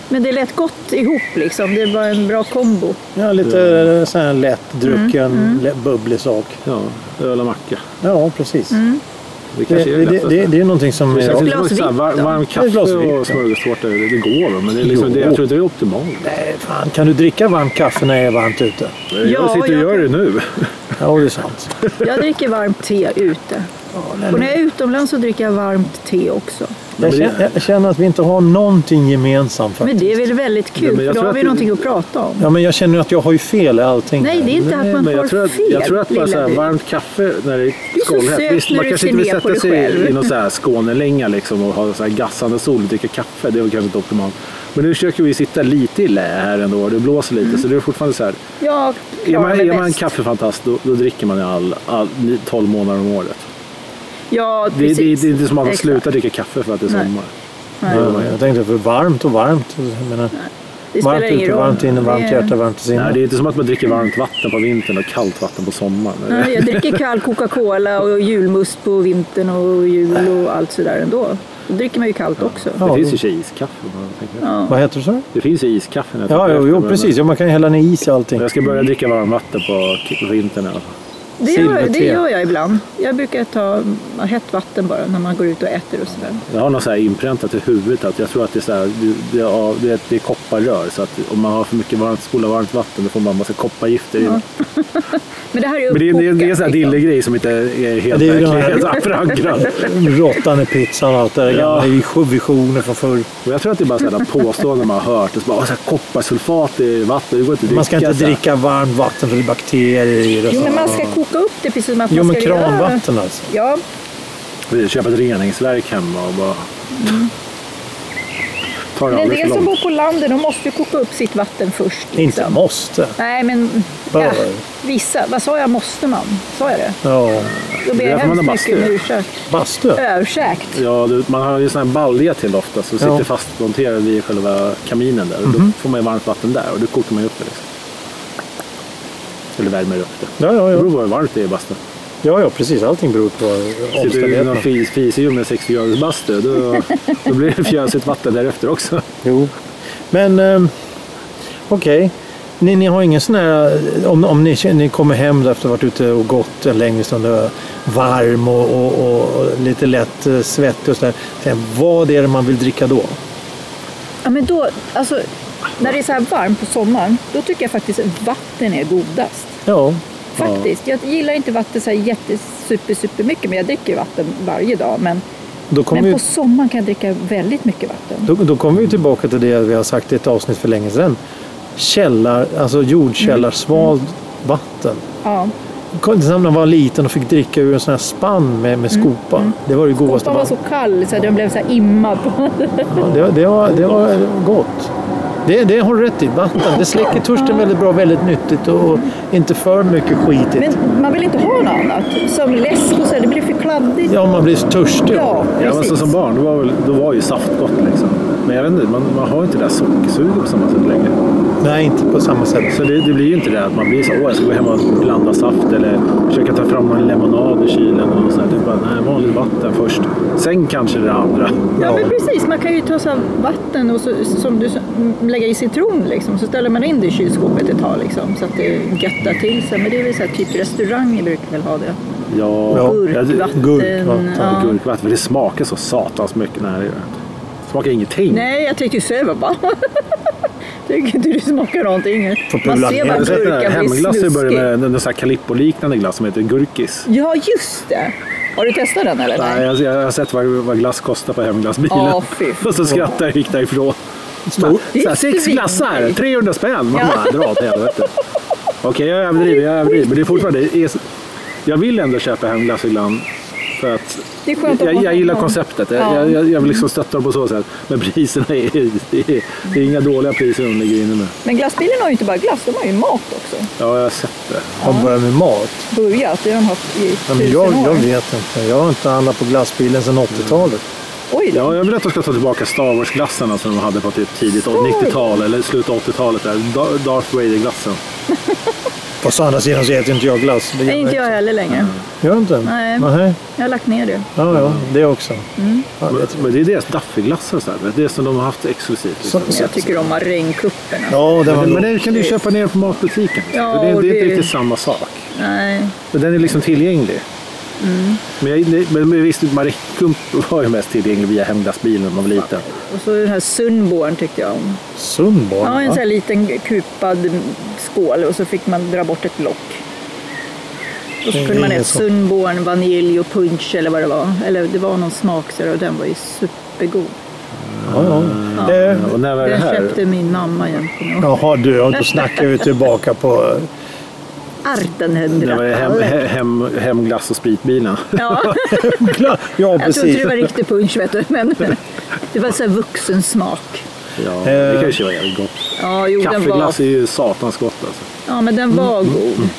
[SPEAKER 3] Men det lät gott ihop liksom. Det var en bra kombo.
[SPEAKER 1] Ja, lite eh, sån här lättdrucken,
[SPEAKER 3] Mm,
[SPEAKER 1] lä- bubblig sak.
[SPEAKER 2] Ja, öl och macka.
[SPEAKER 1] Ja, precis.
[SPEAKER 3] Mm.
[SPEAKER 2] Det
[SPEAKER 1] Det,
[SPEAKER 2] kanske är
[SPEAKER 1] det,
[SPEAKER 2] det
[SPEAKER 1] det,
[SPEAKER 2] lättaste.
[SPEAKER 1] det, är någonting som...
[SPEAKER 2] Det känns
[SPEAKER 1] Är,
[SPEAKER 2] inte som
[SPEAKER 3] glas
[SPEAKER 2] ett så här
[SPEAKER 3] vitt
[SPEAKER 2] var,
[SPEAKER 3] då?
[SPEAKER 2] varm
[SPEAKER 1] är ett
[SPEAKER 2] kaffe
[SPEAKER 1] glas vitt, ja.
[SPEAKER 2] och smörgåstårta, det det går väl, men det är liksom, det, jag tror inte det är optimalt.
[SPEAKER 1] nej, fan, kan du dricka varmt kaffe när det är varmt ute?
[SPEAKER 2] jag sitter och
[SPEAKER 3] jag
[SPEAKER 2] gör
[SPEAKER 3] kan-
[SPEAKER 2] det nu.
[SPEAKER 1] Ja, det är sant.
[SPEAKER 3] Jag dricker varmt te ute. Och när jag är utomlands så dricker jag varmt te också.
[SPEAKER 1] Jag
[SPEAKER 2] men det-
[SPEAKER 1] känner, jag känner att vi inte har någonting gemensamt. För.
[SPEAKER 3] Men det är väl väldigt
[SPEAKER 2] Ja,
[SPEAKER 3] kul,
[SPEAKER 2] men jag
[SPEAKER 3] för då
[SPEAKER 2] tror
[SPEAKER 3] har
[SPEAKER 2] att
[SPEAKER 3] vi
[SPEAKER 2] det-
[SPEAKER 3] någonting att prata om.
[SPEAKER 1] Ja, men jag känner att jag har ju fel i allting.
[SPEAKER 3] Nej, det är inte att man
[SPEAKER 2] men
[SPEAKER 3] har
[SPEAKER 2] jag tror att,
[SPEAKER 3] fel,
[SPEAKER 2] jag tror att bara så här,
[SPEAKER 3] lilla du.
[SPEAKER 2] varmt kaffe när det är
[SPEAKER 3] är så
[SPEAKER 2] skållhett.
[SPEAKER 3] söt
[SPEAKER 2] Visst,
[SPEAKER 3] när
[SPEAKER 2] man
[SPEAKER 3] du
[SPEAKER 2] kanske
[SPEAKER 3] ser
[SPEAKER 2] inte vill
[SPEAKER 3] ner på
[SPEAKER 2] sätta
[SPEAKER 3] dig
[SPEAKER 2] sig
[SPEAKER 3] själv.
[SPEAKER 2] i någon så här Skånelänga liksom och ha så här gassande sol och dricka kaffe. Det var kanske inte optimalt. Men nu försöker vi sitta lite i lä här ändå och det blåser lite så det är fortfarande så här.
[SPEAKER 3] Jag
[SPEAKER 2] Är
[SPEAKER 3] klarar
[SPEAKER 2] man,
[SPEAKER 3] mig
[SPEAKER 2] är man
[SPEAKER 3] Mm. bäst.
[SPEAKER 2] kaffefantast då, då dricker man i all, all, 12 månader om året.
[SPEAKER 3] Ja,
[SPEAKER 2] Det, det,
[SPEAKER 3] precis.
[SPEAKER 2] det är inte som att man
[SPEAKER 3] Exakt.
[SPEAKER 2] slutar dricka kaffe för att det är
[SPEAKER 3] Nej.
[SPEAKER 2] sommar.
[SPEAKER 1] Ja, jag tänkte för varmt och varmt. Jag menar,
[SPEAKER 3] Det spelar
[SPEAKER 1] varmt
[SPEAKER 3] ingen
[SPEAKER 1] ute,
[SPEAKER 3] roll.
[SPEAKER 1] varmt inne, varmt
[SPEAKER 3] Det-
[SPEAKER 1] hjärta, varmt i
[SPEAKER 2] Nej,
[SPEAKER 1] sinne.
[SPEAKER 2] det är inte som att man dricker varmt vatten på vintern och kallt vatten på sommaren.
[SPEAKER 3] Nej, jag dricker kall Coca-Cola och julmust på vintern och jul och allt sådär ändå. Då dricker man ju kallt också.
[SPEAKER 1] Ja.
[SPEAKER 2] Det finns ju i och för sig iskaffe. men jag tänker-
[SPEAKER 1] Vad heter du så?
[SPEAKER 2] Det finns ju iskaffe. när jag
[SPEAKER 1] Ja,
[SPEAKER 2] tänker
[SPEAKER 1] jo,
[SPEAKER 2] efter,
[SPEAKER 1] jo
[SPEAKER 2] men-
[SPEAKER 1] precis. Ja, man kan ju hälla ner is i allting.
[SPEAKER 2] Jag ska börja dricka varmvatten på k- vintern i alla fall.
[SPEAKER 3] Det gör,
[SPEAKER 1] Silverte.
[SPEAKER 3] det gör jag ibland. Jag brukar ta hett vatten bara när man går ut och äter och sådär.
[SPEAKER 2] Jag har något så här inpräntat i huvudet att jag tror att det är, så här, det- det, ja, det, är- det är kopparrör. Så att om man har för mycket varmt, spola varmt vatten då får man massa koppargifter in.
[SPEAKER 3] Men det här är
[SPEAKER 2] Men det är, det är, det är en
[SPEAKER 3] uppkokat,
[SPEAKER 2] sån här
[SPEAKER 3] liksom.
[SPEAKER 2] dillegrej som inte är helt
[SPEAKER 1] Det är ju de här-
[SPEAKER 2] verklighetsförankrad.
[SPEAKER 1] Råttan i pizzan och allt det där
[SPEAKER 2] Ja.
[SPEAKER 1] gamla vision- visioner från förr.
[SPEAKER 2] Och jag tror att det är bara sådana påståenden man har hört. Och så bara, "Åh, så här, kopparsulfat i vatten, det går inte att
[SPEAKER 1] Man ska inte
[SPEAKER 2] så här."
[SPEAKER 1] dricka varmt vatten för det är bakterier i det. och
[SPEAKER 3] Jo, men
[SPEAKER 1] sånt.
[SPEAKER 3] man ska koka upp det precis som att
[SPEAKER 1] Jo,
[SPEAKER 3] man
[SPEAKER 1] men
[SPEAKER 3] ska göra.
[SPEAKER 1] kranvatten alltså.
[SPEAKER 3] Ja,
[SPEAKER 2] Vi köper ett reningsverk hemma och bara...
[SPEAKER 1] Mm.
[SPEAKER 2] Tar det
[SPEAKER 3] men en
[SPEAKER 2] aldrig
[SPEAKER 3] del
[SPEAKER 2] för
[SPEAKER 3] som
[SPEAKER 2] långt.
[SPEAKER 3] bor på landet de måste ju koka upp sitt vatten först. liksom.
[SPEAKER 1] Inte måste.
[SPEAKER 3] Nej, men
[SPEAKER 1] Bör.
[SPEAKER 3] ja, vissa. Vad sa jag? Måste man? Sa jag det?
[SPEAKER 1] Ja,
[SPEAKER 3] Då ber
[SPEAKER 2] Det är
[SPEAKER 3] jag
[SPEAKER 2] därför man
[SPEAKER 3] hemskt
[SPEAKER 2] har
[SPEAKER 3] mycket om
[SPEAKER 2] bastu.
[SPEAKER 3] ursäkt.
[SPEAKER 1] bastu.
[SPEAKER 3] Ursäkt.
[SPEAKER 2] Ja, du, man har ju sån här balja till ofta som
[SPEAKER 1] Ja. Mhm.
[SPEAKER 2] sitter fastmonterad i själva kaminen där. Och Då får man ju varmt vatten där och då kokar man ju upp det. Liksom. Eller värmer upp det.
[SPEAKER 1] Ja, ja,
[SPEAKER 2] Det
[SPEAKER 1] ja.
[SPEAKER 2] beror på hur varmt det är i bastun.
[SPEAKER 1] ja, ja, precis. Allting beror på
[SPEAKER 2] Sitter du i någon
[SPEAKER 1] omständigheterna.
[SPEAKER 2] fis, fisig med 60 graders bastu då, då blir det fjösigt vatten därefter också.
[SPEAKER 1] Jo. Men ehm, okej. Ni, ni har ingen sån här, om, om ni, känner- ni kommer hem efter att ha varit ute och gått en längre stund och är varm och, och, och, och lite lätt eh, svettig och sådär. Sen, Vad är det man vill dricka då?
[SPEAKER 3] Ja, men då, alltså, när det är så här varmt på sommaren, då tycker jag faktiskt att vatten är godast.
[SPEAKER 1] Ja,
[SPEAKER 3] Faktiskt. Jag gillar inte vatten så här jätte, super, super mycket, men jag dricker vatten varje dag. Men,
[SPEAKER 1] då kommer
[SPEAKER 3] men
[SPEAKER 1] vi
[SPEAKER 3] på sommaren kan jag dricka väldigt mycket vatten.
[SPEAKER 1] Då, då kommer vi tillbaka till det vi har sagt i ett avsnitt för länge sedan. Källar, alltså jordkällarsvalt vatten.
[SPEAKER 3] Ja.
[SPEAKER 1] Jag kommer inte ihåg när man var liten och fick dricka ur en sån här spann med,
[SPEAKER 3] Mm,
[SPEAKER 1] med skopa. Det var det godaste
[SPEAKER 3] Koftan var så
[SPEAKER 1] vattnet.
[SPEAKER 3] kall så att den blev så här immad. På.
[SPEAKER 1] Ja, det, det, var, det var gott. Det, det har du rätt i. Vatten. Det släcker törsten väldigt bra, väldigt nyttigt och och inte för mycket skitigt.
[SPEAKER 3] Men man vill inte ha något annat. Som läsk och så, här, det blir för kladdigt.
[SPEAKER 1] Ja, man blir så törstig.
[SPEAKER 3] Ja,
[SPEAKER 2] Ja, men så
[SPEAKER 3] precis.
[SPEAKER 2] som barn då var, väl, då var ju saft gott liksom. Men jag vet inte, man, man har ju inte det där sockersuget på samma sätt längre.
[SPEAKER 1] Nej, inte på samma sätt.
[SPEAKER 2] Så det, det blir ju inte det att man blir så åh jag ska gå hem och blanda saft eller försöka ta fram någon lemonad ur kylen. Och så här. Det är bara nej, vanligt vatten först. Sen kanske det andra.
[SPEAKER 3] Ja, men precis. Man kan ju ta så här vatten och så, som du lägger i citron liksom, så ställer man in det i kylskåpet ett tag liksom, så att det göttar till sig. Men det är väl så här, typ restauranger brukar väl ha det.
[SPEAKER 2] Ja,
[SPEAKER 1] Ja,
[SPEAKER 2] jag-
[SPEAKER 3] Gurkvatten.
[SPEAKER 1] gurkvatten,
[SPEAKER 3] ja.
[SPEAKER 2] gurkvatten. För det smakar så satans mycket. Nej, det gör det inte. smakar ingenting.
[SPEAKER 3] Nej, jag tyckte ju söva bara. Tycker inte du smakar någonting.
[SPEAKER 1] Får pula
[SPEAKER 3] Man ser
[SPEAKER 1] ner.
[SPEAKER 2] Jag
[SPEAKER 3] bara
[SPEAKER 2] har sett den här
[SPEAKER 3] gurkan bli
[SPEAKER 2] hemglass i början
[SPEAKER 3] snuskig.
[SPEAKER 2] med en, en sån här Calippo-liknande glass som heter Gurkis.
[SPEAKER 3] Ja, just det. Har du testat den eller?
[SPEAKER 2] Nej, jag, jag har sett vad, vad glass kostar på hemglassbilen.
[SPEAKER 3] Ja, fy fan.
[SPEAKER 2] och så skrattade jag och gick därifrån.
[SPEAKER 1] Stor.
[SPEAKER 3] Det är
[SPEAKER 2] Så här, sex
[SPEAKER 3] svin.
[SPEAKER 2] glassar, 300 spänn. Man
[SPEAKER 3] Ja.
[SPEAKER 2] bara, dra åt helvete. Okej, jag överdriver, jag överdriver. Men det är fortfarande... det Är, jag vill ändå köpa hem glass ibland För att
[SPEAKER 3] Det är skönt att
[SPEAKER 2] jag,
[SPEAKER 3] ha
[SPEAKER 2] jag gillar
[SPEAKER 3] någon.
[SPEAKER 2] konceptet. Jag,
[SPEAKER 3] Ja.
[SPEAKER 2] jag, jag, jag vill liksom stötta dem på så sätt. Men priserna är, det är, det är inga dåliga priser de ligger inne med.
[SPEAKER 3] Men glassbilen har ju inte bara glass, de har ju mat också.
[SPEAKER 2] Ja, jag har sett det.
[SPEAKER 1] De börjar med mat.
[SPEAKER 3] Burgat, det har de haft i
[SPEAKER 1] Ja,
[SPEAKER 3] tusen
[SPEAKER 1] men jag, jag
[SPEAKER 3] år.
[SPEAKER 1] vet inte. Jag har inte handlat på glassbilen sedan 80-talet.
[SPEAKER 3] Oj då.
[SPEAKER 2] Ja, jag vill att de ska ta tillbaka Star Wars-glassarna som de hade på typ tidigt
[SPEAKER 3] Skoj!
[SPEAKER 2] 90-tal eller slutet av 80-talet. Där. Da- Darth Vader-glassen.
[SPEAKER 1] Fast å andra sidan så äter inte jag glass. Det gör
[SPEAKER 3] Nej, inte jag heller längre.
[SPEAKER 1] Gör du inte?
[SPEAKER 3] Nej. Mm.
[SPEAKER 1] Nej.
[SPEAKER 3] Jag har lagt ner det.
[SPEAKER 1] Ja, ja, det också. Ja,
[SPEAKER 2] Men-
[SPEAKER 1] det-
[SPEAKER 2] Men det är deras Daffy-glassar. Så här. Det är det som de har haft exklusivt. Liksom.
[SPEAKER 1] Så- så-
[SPEAKER 3] Jag tycker om marängkupperna.
[SPEAKER 1] Ja, det var
[SPEAKER 2] Men, men
[SPEAKER 1] nog-
[SPEAKER 2] den kan du ju köpa ner på matbutiken.
[SPEAKER 3] Ja,
[SPEAKER 2] Så det, det,
[SPEAKER 3] och
[SPEAKER 2] är inte
[SPEAKER 3] det-
[SPEAKER 2] riktigt samma sak.
[SPEAKER 3] Nej.
[SPEAKER 2] Men den är liksom tillgänglig.
[SPEAKER 3] Mm.
[SPEAKER 2] Men, jag, nej, men, men visst, Mariekump var ju mest tillgänglig via hemglassbilen när man var liten.
[SPEAKER 3] Och så den här Sundborn tyckte jag om.
[SPEAKER 1] Sundborn,
[SPEAKER 3] Ja, en
[SPEAKER 1] va?
[SPEAKER 3] sån här liten kupad skål och så fick man dra bort ett lock. Och så
[SPEAKER 1] Det är
[SPEAKER 3] kunde man
[SPEAKER 1] inget så.
[SPEAKER 3] äta Sundborn, vanilj och punch eller vad det var. Eller det var någon smak så där, och den var ju supergod.
[SPEAKER 1] Ja, ja. Eh,
[SPEAKER 2] Och när var det
[SPEAKER 3] Mm. Den
[SPEAKER 2] här?
[SPEAKER 3] köpte min mamma jämt. kommer jag ihåg.
[SPEAKER 1] Jaha du, ja, då snackar vi tillbaka på...
[SPEAKER 2] När var det hem,
[SPEAKER 3] Artenhundra.
[SPEAKER 2] he- hem, hemglass och spritbilen?
[SPEAKER 3] Ja,
[SPEAKER 1] Ja,
[SPEAKER 3] jag tror inte
[SPEAKER 1] precis.
[SPEAKER 3] det var riktig punch vet du, men det var så här vuxen smak.
[SPEAKER 2] Ja, det kanske var jävligt gott.
[SPEAKER 3] Ja, jo, den var,
[SPEAKER 2] Eh, Kaffeglass är ju satans gott alltså.
[SPEAKER 3] ja, men den var god.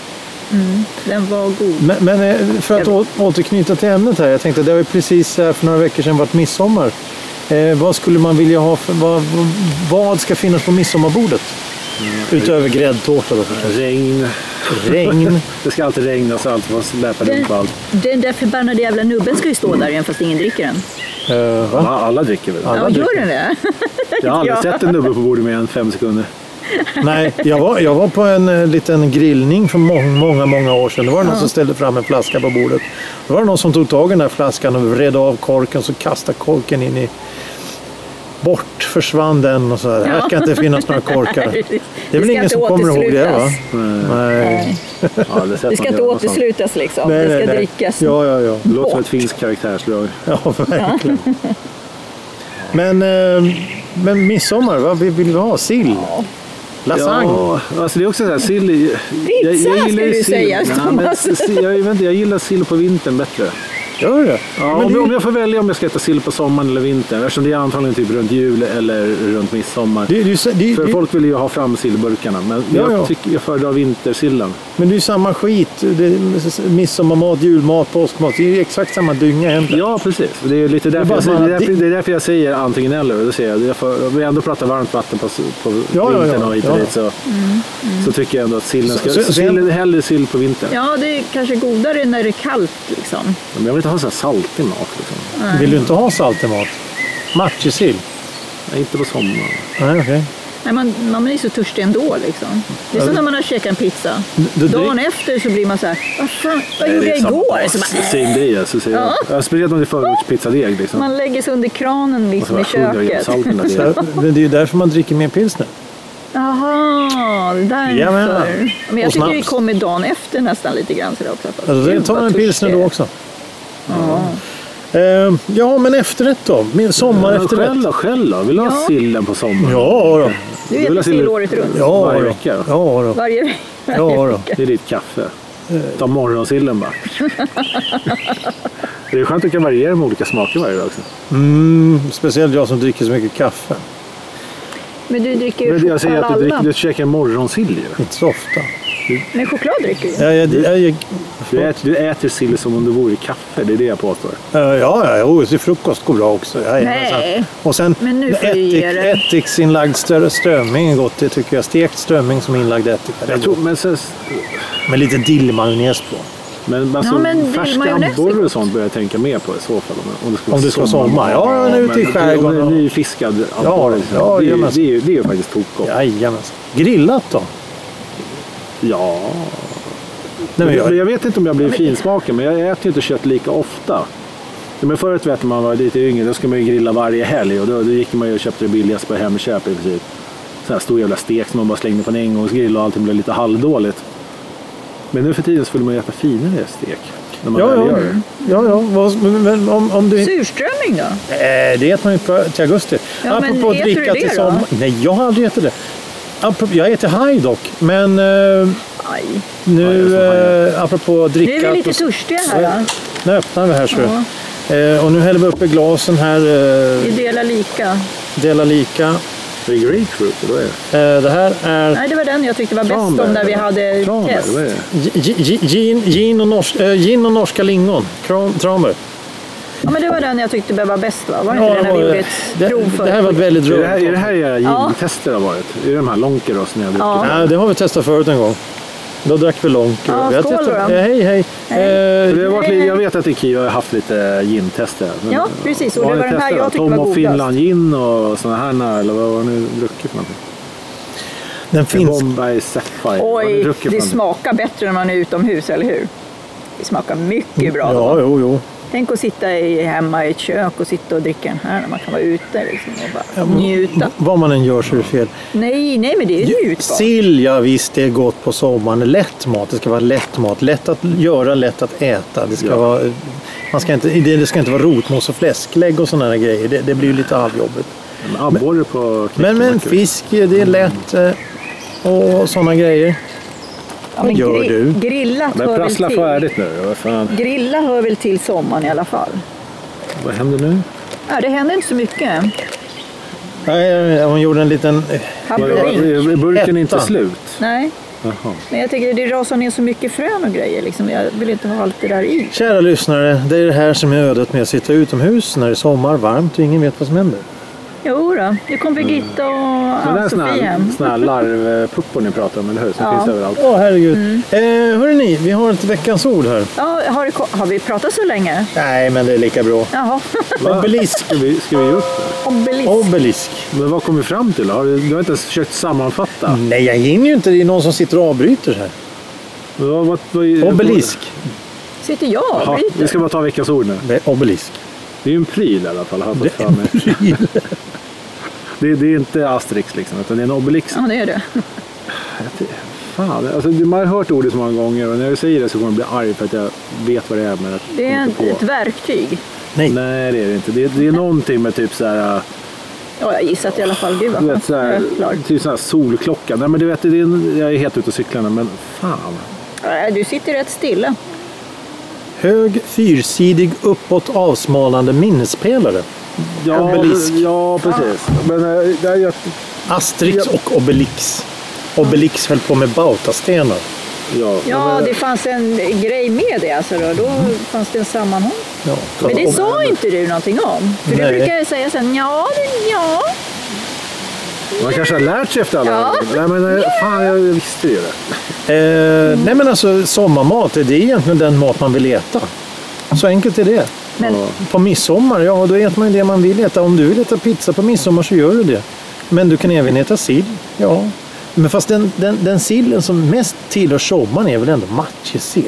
[SPEAKER 3] Mm, den var god.
[SPEAKER 1] Men, men eh, för att
[SPEAKER 3] Jag-
[SPEAKER 1] å- återknyta till ämnet här. Jag tänkte, det har ju precis eh, för några veckor sedan varit midsommar. Eh, vad skulle man vilja ha för, vad, vad ska finnas på midsommarbordet? Utöver gräddtårta då förstås.
[SPEAKER 2] Regn.
[SPEAKER 1] Regn.
[SPEAKER 2] Det ska alltid regna så allt får släpa
[SPEAKER 3] Den,
[SPEAKER 2] runt på allt.
[SPEAKER 3] den där förbannade jävla nubben ska ju stå där igen fast ingen dricker den.
[SPEAKER 1] Eh, va?
[SPEAKER 2] Ja, alla dricker väl?
[SPEAKER 1] Alla
[SPEAKER 3] Ja,
[SPEAKER 1] dricker.
[SPEAKER 3] gör den det?
[SPEAKER 2] Jag har aldrig
[SPEAKER 3] Ja.
[SPEAKER 2] sett en nubbe på bordet mer än fem sekunder.
[SPEAKER 1] Nej, jag var, jag var på en eh, liten grillning för många, många, många år sedan. Då var det någon som ställde fram en flaska på bordet. Då var det någon som tog tag i den här flaskan och vred av korken så kastade korken in i... Bort försvann den och så här. Här ska inte finnas några korkar. Det är väl
[SPEAKER 3] ska
[SPEAKER 1] ingen
[SPEAKER 3] inte
[SPEAKER 1] som kommer ihåg det va?
[SPEAKER 3] återslutas.
[SPEAKER 1] Nej.
[SPEAKER 2] Ja, det har jag sett
[SPEAKER 3] Det
[SPEAKER 2] någon
[SPEAKER 3] ska inte
[SPEAKER 2] göra någonstans.
[SPEAKER 3] återslutas liksom.
[SPEAKER 1] Nej,
[SPEAKER 3] det ska
[SPEAKER 1] nej, nej.
[SPEAKER 3] drickas.
[SPEAKER 1] Ja, ja, ja.
[SPEAKER 2] Det låter som ett finskt karaktärsdrag.
[SPEAKER 1] Ja, verkligen. Men, eh, men midsommar, vad vill vill vi ha? Sill? Lasagne?
[SPEAKER 2] Ja, alltså det är också så här, sill. är- Jag,
[SPEAKER 3] Pizza
[SPEAKER 2] jag gillar
[SPEAKER 3] skulle
[SPEAKER 2] ju
[SPEAKER 3] du
[SPEAKER 2] sill.
[SPEAKER 3] säga,
[SPEAKER 2] Nej, men
[SPEAKER 3] Thomas.
[SPEAKER 2] s- jag, vet inte, jag gillar sill på vintern bättre.
[SPEAKER 1] Gör det?
[SPEAKER 2] Ja,
[SPEAKER 1] men
[SPEAKER 2] om,
[SPEAKER 1] det,
[SPEAKER 2] jag,
[SPEAKER 1] är
[SPEAKER 2] om
[SPEAKER 1] ju-
[SPEAKER 2] jag får välja om jag ska äta sill på sommaren eller vintern. Eftersom det är antagligen typ runt jul eller runt midsommar.
[SPEAKER 1] det, är ju så- det, är-
[SPEAKER 2] För
[SPEAKER 1] det, är-
[SPEAKER 2] folk vill ju ha fram sillburkarna. Men
[SPEAKER 1] Ja, ja.
[SPEAKER 2] jag, tycker, jag föredrar vintersillen.
[SPEAKER 1] men det är ju samma skit. Det är midsommarmat, julmat, påskmat. Det är ju exakt samma dynga egentligen.
[SPEAKER 2] Ja, precis. Det är lite
[SPEAKER 1] bara
[SPEAKER 2] därför,
[SPEAKER 1] så
[SPEAKER 2] det,
[SPEAKER 1] här
[SPEAKER 2] är
[SPEAKER 1] att
[SPEAKER 2] därför,
[SPEAKER 1] det-
[SPEAKER 2] det är därför jag säger antingen eller. Det säger jag. jag får, om vi ändå pratar varmt vatten på, s- på
[SPEAKER 1] ja, ja.
[SPEAKER 2] vintern och hit och
[SPEAKER 1] Ja.
[SPEAKER 2] dit
[SPEAKER 3] Mm,
[SPEAKER 2] så, så tycker jag ändå att sillen ska...
[SPEAKER 1] Så- så-
[SPEAKER 2] sillen, hellre sill på vintern.
[SPEAKER 3] Ja, det är kanske godare när det är kallt liksom.
[SPEAKER 2] Men jag vill inte ha så här saltig mat. Liksom.
[SPEAKER 1] Vill du inte ha saltig mat? Matjessill?
[SPEAKER 2] Nej, inte på sommaren.
[SPEAKER 1] Nej, okej.
[SPEAKER 3] Nej, man, man är ju så törstig ändå liksom. Det är som när man har käkat en pizza.
[SPEAKER 1] Du- du-
[SPEAKER 3] Dagen efter så blir man så här, vad fan, vad
[SPEAKER 2] Nej,
[SPEAKER 3] gjorde
[SPEAKER 2] det är
[SPEAKER 3] jag
[SPEAKER 2] samma-
[SPEAKER 3] igår? Så man,
[SPEAKER 2] Same day, alltså, säger
[SPEAKER 3] Ja.
[SPEAKER 2] jag. jag. Speciellt om det är förortspizzadeg. Liksom.
[SPEAKER 3] man lägger sig under kranen
[SPEAKER 2] Och så
[SPEAKER 3] liksom
[SPEAKER 2] bara
[SPEAKER 3] i
[SPEAKER 2] sjunger jag
[SPEAKER 3] köket.
[SPEAKER 2] salt i den där delen.
[SPEAKER 1] Så- Men det är ju därför man dricker mer pilsner.
[SPEAKER 3] Jaha, det där är
[SPEAKER 1] Jajamän.
[SPEAKER 3] därför. Men jag
[SPEAKER 1] Och
[SPEAKER 3] tycker det
[SPEAKER 1] snaps.
[SPEAKER 3] kommer dagen efter nästan lite grann. Så där också, att-
[SPEAKER 1] Alltså, det
[SPEAKER 3] Gud,
[SPEAKER 1] tar man
[SPEAKER 3] vad
[SPEAKER 1] en pilsner
[SPEAKER 3] törstig
[SPEAKER 1] då
[SPEAKER 3] jag är.
[SPEAKER 1] också.
[SPEAKER 3] Ja.
[SPEAKER 1] Eh, Ja, men efterrätt då? Min sommar
[SPEAKER 2] Men Själv
[SPEAKER 1] efterrätt?
[SPEAKER 2] då? Själv då? Vill du ha
[SPEAKER 3] Ja.
[SPEAKER 2] sillen på sommaren?
[SPEAKER 1] Ja, då.
[SPEAKER 3] Du
[SPEAKER 2] Du vill
[SPEAKER 3] äter
[SPEAKER 2] ha sill-
[SPEAKER 3] sill året runt?
[SPEAKER 1] Ja,
[SPEAKER 2] Varje
[SPEAKER 1] då.
[SPEAKER 2] vecka,
[SPEAKER 1] Ja,
[SPEAKER 2] då?
[SPEAKER 1] då.
[SPEAKER 3] Varje
[SPEAKER 1] Ja, då.
[SPEAKER 2] Det är ditt kaffe. Ta morgonsillen bara. Det är skönt att du kan variera med olika smaker varje dag också.
[SPEAKER 1] Mm, speciellt jag som dricker så mycket kaffe.
[SPEAKER 3] Men du dricker
[SPEAKER 2] Men
[SPEAKER 3] ju
[SPEAKER 2] jag säger att
[SPEAKER 3] choklad
[SPEAKER 2] du, dricker,
[SPEAKER 3] alla.
[SPEAKER 2] du käkar morgonsill ju.
[SPEAKER 1] Inte så ofta.
[SPEAKER 3] Men choklad dricker ju.
[SPEAKER 1] Jag, jag, jag, jag,
[SPEAKER 2] Du äter, du äter sill som om det vore kaffe, det är det jag påstår.
[SPEAKER 1] Eh, Ja, ja, jo, till frukost går bra också. Ja,
[SPEAKER 3] Nej.
[SPEAKER 1] Och sen
[SPEAKER 3] Men nu får du
[SPEAKER 1] ättik,
[SPEAKER 3] ge dig.
[SPEAKER 1] ättiksinlagd strö- strömming är gott, det tycker jag. Stekt strömming som inlagd ättika. det är
[SPEAKER 2] Jag tror,
[SPEAKER 1] gott.
[SPEAKER 2] men sen,
[SPEAKER 1] Med lite dillmajonnäs på.
[SPEAKER 2] men alltså,
[SPEAKER 3] Ja, men det är
[SPEAKER 2] färska
[SPEAKER 3] majonnäs
[SPEAKER 2] abborre
[SPEAKER 3] är
[SPEAKER 2] och sånt börjar jag tänka mer på i så fall. Om, om det ska vara
[SPEAKER 1] Om det ska vara sommar. Ja, men ute i
[SPEAKER 2] men
[SPEAKER 1] skärgården
[SPEAKER 2] Om
[SPEAKER 1] och-
[SPEAKER 2] det är nyfiskad
[SPEAKER 1] Ja,
[SPEAKER 2] abborre. liksom.
[SPEAKER 1] ja,
[SPEAKER 2] det, är ju-
[SPEAKER 1] jajamän.
[SPEAKER 2] det, är ju- det är ju faktiskt tokgott.
[SPEAKER 1] Jajamensan. Grillat då?
[SPEAKER 2] ja.
[SPEAKER 1] Nej, men
[SPEAKER 2] jag,
[SPEAKER 1] jag,
[SPEAKER 2] jag vet inte om jag blir finsmaken, men jag äter ju inte kött lika ofta. Ja, Men förut vet man, man var lite yngre, då skulle man ju grilla varje helg och då, då gick man ju och köpte det billigaste på Hemköp i princip. Sån här stor jävla stek som man bara slängde på en engångsgrill och allting blev lite halvdåligt. Men nu för tiden så vill man ju äta finare stek. När man
[SPEAKER 1] ja,
[SPEAKER 2] väl
[SPEAKER 1] ja,
[SPEAKER 2] gör det.
[SPEAKER 1] ja, ja. Vad- Men, men om, om du...
[SPEAKER 3] Surströmming då?
[SPEAKER 1] Eh, det äter man ju på, till augusti.
[SPEAKER 3] Ja, men äter du det då?
[SPEAKER 1] Nej, jag har aldrig ätit det. Apropå, jag äter haj dock, men eh,
[SPEAKER 3] Aj.
[SPEAKER 1] nu
[SPEAKER 2] Ja, jag är som
[SPEAKER 1] eh, apropå
[SPEAKER 3] Nu är
[SPEAKER 1] dricka...
[SPEAKER 3] vi lite törstiga här. va?
[SPEAKER 1] Nu öppnar vi här ser du.
[SPEAKER 3] Ja.
[SPEAKER 1] Eh, och nu häller vi upp i glasen här.
[SPEAKER 3] Vi
[SPEAKER 1] Eh,
[SPEAKER 3] delar lika.
[SPEAKER 1] dela lika.
[SPEAKER 2] Det är grapefruit, eller vad är det?
[SPEAKER 1] Eh, det här är
[SPEAKER 3] Nej, det var den jag tyckte var bäst,
[SPEAKER 2] Tranbär,
[SPEAKER 3] de där vi
[SPEAKER 2] eller?
[SPEAKER 3] hade
[SPEAKER 2] Tranbär,
[SPEAKER 3] test.
[SPEAKER 2] vad är det?
[SPEAKER 1] gi- gi- gin, gin, och nors, eh, gin och norska lingon. Kram- Tramer.
[SPEAKER 3] Ja, men det var den jag tyckte var bäst, va? Var inte
[SPEAKER 1] Ja,
[SPEAKER 3] den
[SPEAKER 1] det
[SPEAKER 3] när vi
[SPEAKER 1] var-
[SPEAKER 3] gjorde ett
[SPEAKER 1] det,
[SPEAKER 3] prov för?
[SPEAKER 1] det här var ett väldigt
[SPEAKER 2] Är det här, är det
[SPEAKER 1] roligt.
[SPEAKER 2] här era
[SPEAKER 3] Ja.
[SPEAKER 2] gintester har varit? Är det de här Lonkeros ni har druckit?
[SPEAKER 3] Ja.
[SPEAKER 1] Nej, det har vi testat förut en gång. Då drack vi långt.
[SPEAKER 3] Ja,
[SPEAKER 1] vi har
[SPEAKER 3] skål
[SPEAKER 1] testat,
[SPEAKER 3] då.
[SPEAKER 1] eh, hej, hej. Eh,
[SPEAKER 2] Det har varit, lite- jag vet att Ikea har haft lite gintester. men-
[SPEAKER 3] Ja, precis. Och
[SPEAKER 2] Vad
[SPEAKER 3] det
[SPEAKER 2] har
[SPEAKER 3] var
[SPEAKER 2] ni
[SPEAKER 3] den här
[SPEAKER 2] testat
[SPEAKER 3] jag
[SPEAKER 2] då?
[SPEAKER 3] tyckte var
[SPEAKER 2] Tom och
[SPEAKER 3] godast.
[SPEAKER 2] Finland gin och sådana här, eller vad har ni druckit för någonting?
[SPEAKER 1] den finns.
[SPEAKER 2] Bombay Sapphire. Vad har ni
[SPEAKER 3] Oj,
[SPEAKER 2] druckit för
[SPEAKER 3] det
[SPEAKER 2] någonting?
[SPEAKER 3] smakar bättre när man är utomhus, eller hur? Det smakar mycket bra. då.
[SPEAKER 1] Ja, jo, jo.
[SPEAKER 3] Tänk att sitta i, hemma i ett kök och sitta och dricka den här när man kan vara ute liksom, och bara njuta.
[SPEAKER 1] Vad man än gör så är det fel.
[SPEAKER 3] Nej, nej, men det är njutbart.
[SPEAKER 1] Sill, ja visst, det är gott på sommaren. Lätt mat, det ska vara lätt mat. Lätt att göra, lätt att äta. Det ska,
[SPEAKER 2] Ja.
[SPEAKER 1] vara, man ska, inte, det det ska inte vara rotmos och fläsklägg och sådana grejer. Det, det blir ju lite halvjobbigt.
[SPEAKER 2] En abborre på knäcken
[SPEAKER 1] Men, men
[SPEAKER 2] var kul.
[SPEAKER 1] fisk, det är lätt. eh, Och sådana grejer.
[SPEAKER 3] Ja, men
[SPEAKER 1] gör
[SPEAKER 3] gri-
[SPEAKER 1] du?
[SPEAKER 3] Grillat
[SPEAKER 2] Men
[SPEAKER 3] hör väl
[SPEAKER 2] prassla
[SPEAKER 3] till.
[SPEAKER 2] färdigt nu. Vad, fan,
[SPEAKER 3] Grilla hör väl till sommaren i alla fall.
[SPEAKER 2] vad händer nu?
[SPEAKER 3] Ja, det händer inte så mycket.
[SPEAKER 1] Nej, eh, Hon gjorde en liten... eh,
[SPEAKER 2] Var, var,
[SPEAKER 3] Havring.
[SPEAKER 2] är burken inte
[SPEAKER 1] Ettan.
[SPEAKER 2] slut?
[SPEAKER 3] Nej,
[SPEAKER 2] Jaha.
[SPEAKER 3] men jag tycker det rasar ner så mycket frön och grejer. Liksom. Jag vill inte ha allt det där i.
[SPEAKER 1] Kära lyssnare, det är det här som är ödet med att sitta utomhus när det är sommar, varmt och ingen vet vad som händer.
[SPEAKER 3] Jo då, nu kom Birgitta och
[SPEAKER 2] Det där är såna
[SPEAKER 3] Ann-Sofie hem.
[SPEAKER 2] här- såna här larvpuppor ni pratar om, eller hur? Som
[SPEAKER 3] Ja.
[SPEAKER 2] finns överallt.
[SPEAKER 1] Åh herregud. Eh, hörrni, vi har ett veckans ord här.
[SPEAKER 3] Ja, har, det, ko- har vi pratat så länge?
[SPEAKER 1] Nej, men det är lika bra.
[SPEAKER 3] Jaha,
[SPEAKER 1] Obelisk.
[SPEAKER 2] Ska vi, ska vi ge upp?
[SPEAKER 3] obelisk.
[SPEAKER 1] Obelisk.
[SPEAKER 2] Men vad kom vi fram till? Har du, du har inte ens försökt sammanfatta?
[SPEAKER 1] Nej, jag hinner ju inte. Det är någon som sitter och avbryter här.
[SPEAKER 2] Vad, vad, vad,
[SPEAKER 1] Obelisk.
[SPEAKER 3] Sitter jag och
[SPEAKER 2] Jaha,
[SPEAKER 3] bryter?
[SPEAKER 2] vi ska bara ta veckans ord nu.
[SPEAKER 1] Det är obelisk.
[SPEAKER 2] Det är ju en pryl i alla fall. Har jag fått
[SPEAKER 1] Det är
[SPEAKER 2] för mig. Det, det är inte Asterix liksom, utan det är en obelix.
[SPEAKER 3] Ja, det är det.
[SPEAKER 2] Fan, alltså, det- man har hört ordet så många gånger och när jag säger det så kommer jag bli arg för att jag vet vad det är. Men jag
[SPEAKER 3] Det är
[SPEAKER 2] kommer
[SPEAKER 3] en,
[SPEAKER 2] inte
[SPEAKER 3] ett
[SPEAKER 2] på.
[SPEAKER 3] verktyg.
[SPEAKER 1] Nej.
[SPEAKER 2] Nej, det är det inte. Det, det är någonting med typ så här... äh,
[SPEAKER 3] Ja, jag gissar att i alla fall. Gud vad
[SPEAKER 2] Du vet,
[SPEAKER 3] skönt.
[SPEAKER 2] så
[SPEAKER 3] Nu
[SPEAKER 2] här,
[SPEAKER 3] är jag klar.
[SPEAKER 2] typ sån här solklocka. Nej, men du vet, det är en, jag är helt ute och cyklar nu, men fan.
[SPEAKER 3] Nej, Du sitter rätt stilla.
[SPEAKER 1] Hög, fyrsidig, uppåt avsmalnande minnespelare.
[SPEAKER 2] Ja,
[SPEAKER 1] Obelisk.
[SPEAKER 2] Ja, precis. Men äh, det är ju att-
[SPEAKER 1] Asterix
[SPEAKER 2] Ja.
[SPEAKER 1] och Obelix. Obelix höll på med bautastenar.
[SPEAKER 2] Ja,
[SPEAKER 3] Ja,
[SPEAKER 2] men-
[SPEAKER 3] det fanns en grej med det alltså då. Då fanns det en sammanhållning.
[SPEAKER 1] Ja.
[SPEAKER 3] Men det sa inte du någonting om. För
[SPEAKER 1] Nej.
[SPEAKER 3] du brukar ju säga sen ja, det- ja.
[SPEAKER 2] äh, Man kanske har lärt sig efter alla
[SPEAKER 3] Ja.
[SPEAKER 2] år. Nej, men eh, fan, jag visste ju det.
[SPEAKER 1] Eh, nej men alltså sommarmat, det är egentligen den mat man vill äta. Så enkelt är det.
[SPEAKER 3] Men
[SPEAKER 1] På midsommar, ja då äter man ju det man vill äta. Om du vill äta pizza på midsommar så gör du det. Men du kan även äta sill. Ja. Men fast den, den, den sillen som mest tillhör sommaren är väl ändå matjessill?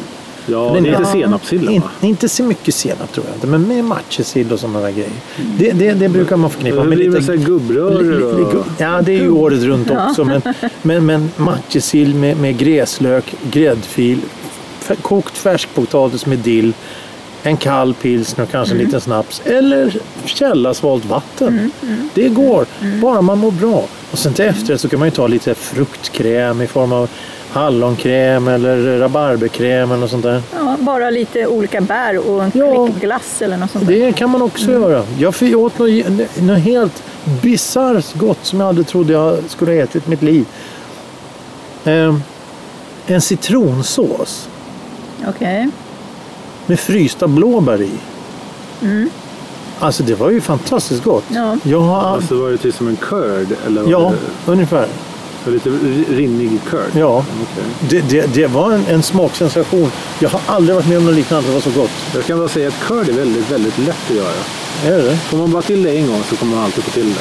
[SPEAKER 2] Ja,
[SPEAKER 1] Den
[SPEAKER 2] det är
[SPEAKER 1] är-
[SPEAKER 2] lite senapssillen
[SPEAKER 1] In,
[SPEAKER 2] va?
[SPEAKER 1] inte så mycket senap tror jag inte, men med matjessill och sådana där grejer. Det, det, det brukar man förknippa
[SPEAKER 2] Det
[SPEAKER 1] med
[SPEAKER 2] blir
[SPEAKER 1] lite...
[SPEAKER 2] med så här gubbrörer
[SPEAKER 1] li- li-
[SPEAKER 2] och-
[SPEAKER 1] gu- Ja, det är ju året runt också. Men, men, men matjessill med, med gräslök, gräddfil, f- kokt färskpotatis med dill, en kall pilsner och kanske en liten snaps. Eller källasvalt vatten. Det går, bara man mår bra. Och sen till efterrätt så kan man ju ta lite fruktkräm i form av hallonkräm eller rabarberkräm eller något sånt där.
[SPEAKER 3] ja, bara lite olika bär och en
[SPEAKER 1] Ja.
[SPEAKER 3] klick glass eller något sånt där.
[SPEAKER 1] Det kan man också göra. Jag fick- åt något, något helt bisarrt gott som jag aldrig trodde jag skulle ha ätit i mitt liv. Ehm, en citronsås
[SPEAKER 3] Okej.
[SPEAKER 1] med frysta blåbär i. Alltså det var ju fantastiskt gott.
[SPEAKER 3] Ja.
[SPEAKER 1] Jag har,
[SPEAKER 2] Alltså var det typ som en curd? Eller var
[SPEAKER 1] ja,
[SPEAKER 2] det-
[SPEAKER 1] ungefär.
[SPEAKER 2] så lite rinnig curd?
[SPEAKER 1] Ja.
[SPEAKER 2] Okej.
[SPEAKER 1] Det, det, det var en, en smaksensation. Jag har aldrig varit med om något liknande. Det var så gott.
[SPEAKER 2] Jag kan bara säga att curd är väldigt, väldigt lätt att göra.
[SPEAKER 1] Är det det?
[SPEAKER 2] Får man bara till det en gång så kommer man alltid få till det.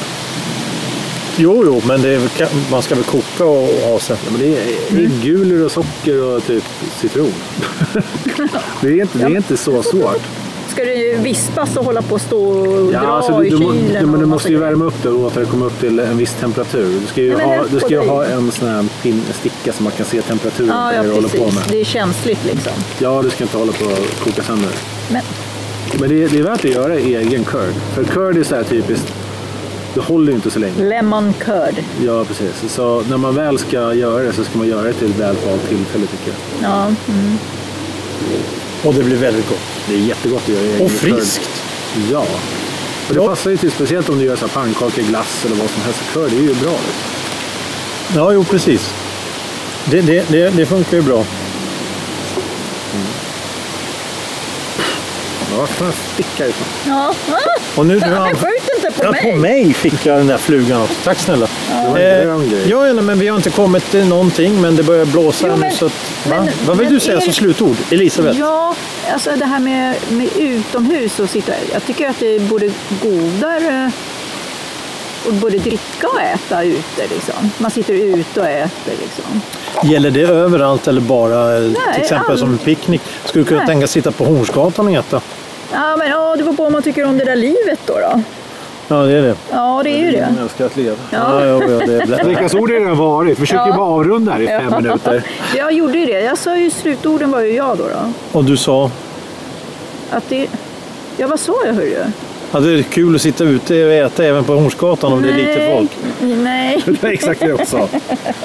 [SPEAKER 1] Jo, jo, men det är, väl ka- man ska väl koka och, och ha sen.
[SPEAKER 2] Ja, men det är
[SPEAKER 3] Mm.
[SPEAKER 2] äggulor och socker och typ citron. det, är inte, det är inte så svårt.
[SPEAKER 3] Ska det vispas och hålla på och stå och dra
[SPEAKER 2] alltså, du,
[SPEAKER 3] i
[SPEAKER 2] du, må-
[SPEAKER 3] kylen?
[SPEAKER 2] ja, men
[SPEAKER 3] och
[SPEAKER 2] du
[SPEAKER 3] massa
[SPEAKER 2] måste ju
[SPEAKER 3] grejer?
[SPEAKER 2] värma upp det och låta det komma upp till en viss temperatur. Du ska ju
[SPEAKER 3] Nej, men
[SPEAKER 2] ha,
[SPEAKER 3] höll
[SPEAKER 2] du ska
[SPEAKER 3] på
[SPEAKER 2] ju
[SPEAKER 3] dig.
[SPEAKER 2] ha en sån här pin, sticka så man kan se temperaturen
[SPEAKER 3] Ja,
[SPEAKER 2] på
[SPEAKER 3] ja
[SPEAKER 2] det du håller på
[SPEAKER 3] precis.
[SPEAKER 2] med.
[SPEAKER 3] Det är känsligt liksom.
[SPEAKER 2] Ja, du ska inte hålla på och koka sönder.
[SPEAKER 3] Men
[SPEAKER 2] Men det är, det är värt att göra egen curd. För curd är så här typiskt, det håller ju inte så länge.
[SPEAKER 3] lemon curd.
[SPEAKER 2] Ja, precis. Så när man väl ska göra det så ska man göra det till ett väl valt tillfälle tycker jag.
[SPEAKER 3] Ja, mm.
[SPEAKER 1] Och det blir väldigt gott.
[SPEAKER 2] Det är jättegott att göra i egen
[SPEAKER 1] Och
[SPEAKER 2] skörd.
[SPEAKER 1] friskt.
[SPEAKER 2] Ja. Och det
[SPEAKER 1] Ja.
[SPEAKER 2] passar ju till, speciellt om du gör så här pannkakor, glass eller vad som helst. Kör, det är ju bra. liksom.
[SPEAKER 1] Ja, jo precis. Det, det, det, det funkar ju bra.
[SPEAKER 2] Ja, fan, sticka ifrån.
[SPEAKER 3] Ja, ah,
[SPEAKER 1] Och nu, nu
[SPEAKER 3] fan,
[SPEAKER 1] anf-
[SPEAKER 3] skjut inte på
[SPEAKER 1] Ja,
[SPEAKER 3] mig!
[SPEAKER 1] på mig fick jag den där flugan också. Tack snälla. Eh,
[SPEAKER 2] var en grön grej.
[SPEAKER 1] ja, ja, men vi har inte kommit till någonting, men det börjar blåsa
[SPEAKER 3] Jo, men-
[SPEAKER 1] nu. Så att, va?
[SPEAKER 3] men-
[SPEAKER 1] Vad vill
[SPEAKER 3] men
[SPEAKER 1] du säga
[SPEAKER 3] är-
[SPEAKER 1] som slutord, Elisabeth?
[SPEAKER 3] Ja, alltså det här med, med utomhus och sitta. Jag tycker att det är både godare och både dricka och äta ute. Liksom. Man sitter ute och äter. Liksom.
[SPEAKER 1] Gäller det överallt eller bara eh, till exempel
[SPEAKER 3] all-
[SPEAKER 1] som en picknick? Skulle du kunna
[SPEAKER 3] Nej.
[SPEAKER 1] tänka sig sitta på Hornsgatan och äta?
[SPEAKER 3] Ja, men ja, det beror på om man tycker om det där livet då. då.
[SPEAKER 1] Ja, det är det.
[SPEAKER 3] Ja, det är ju det.
[SPEAKER 2] älskar att leva.
[SPEAKER 1] Ja, ja, ja, det är blä-
[SPEAKER 2] Veckans ord har redan varit. Försöker ju bara avrunda här i fem minuter.
[SPEAKER 3] Jag gjorde ju det. Jag sa ju slutorden var ju jag då. då.
[SPEAKER 1] och du sa
[SPEAKER 3] Att det, ja, vad sa jag hörru?
[SPEAKER 1] att det är kul att sitta ute och äta även på Hornsgatan om det är lite folk.
[SPEAKER 3] Nej,
[SPEAKER 2] Det är exakt det jag också sa.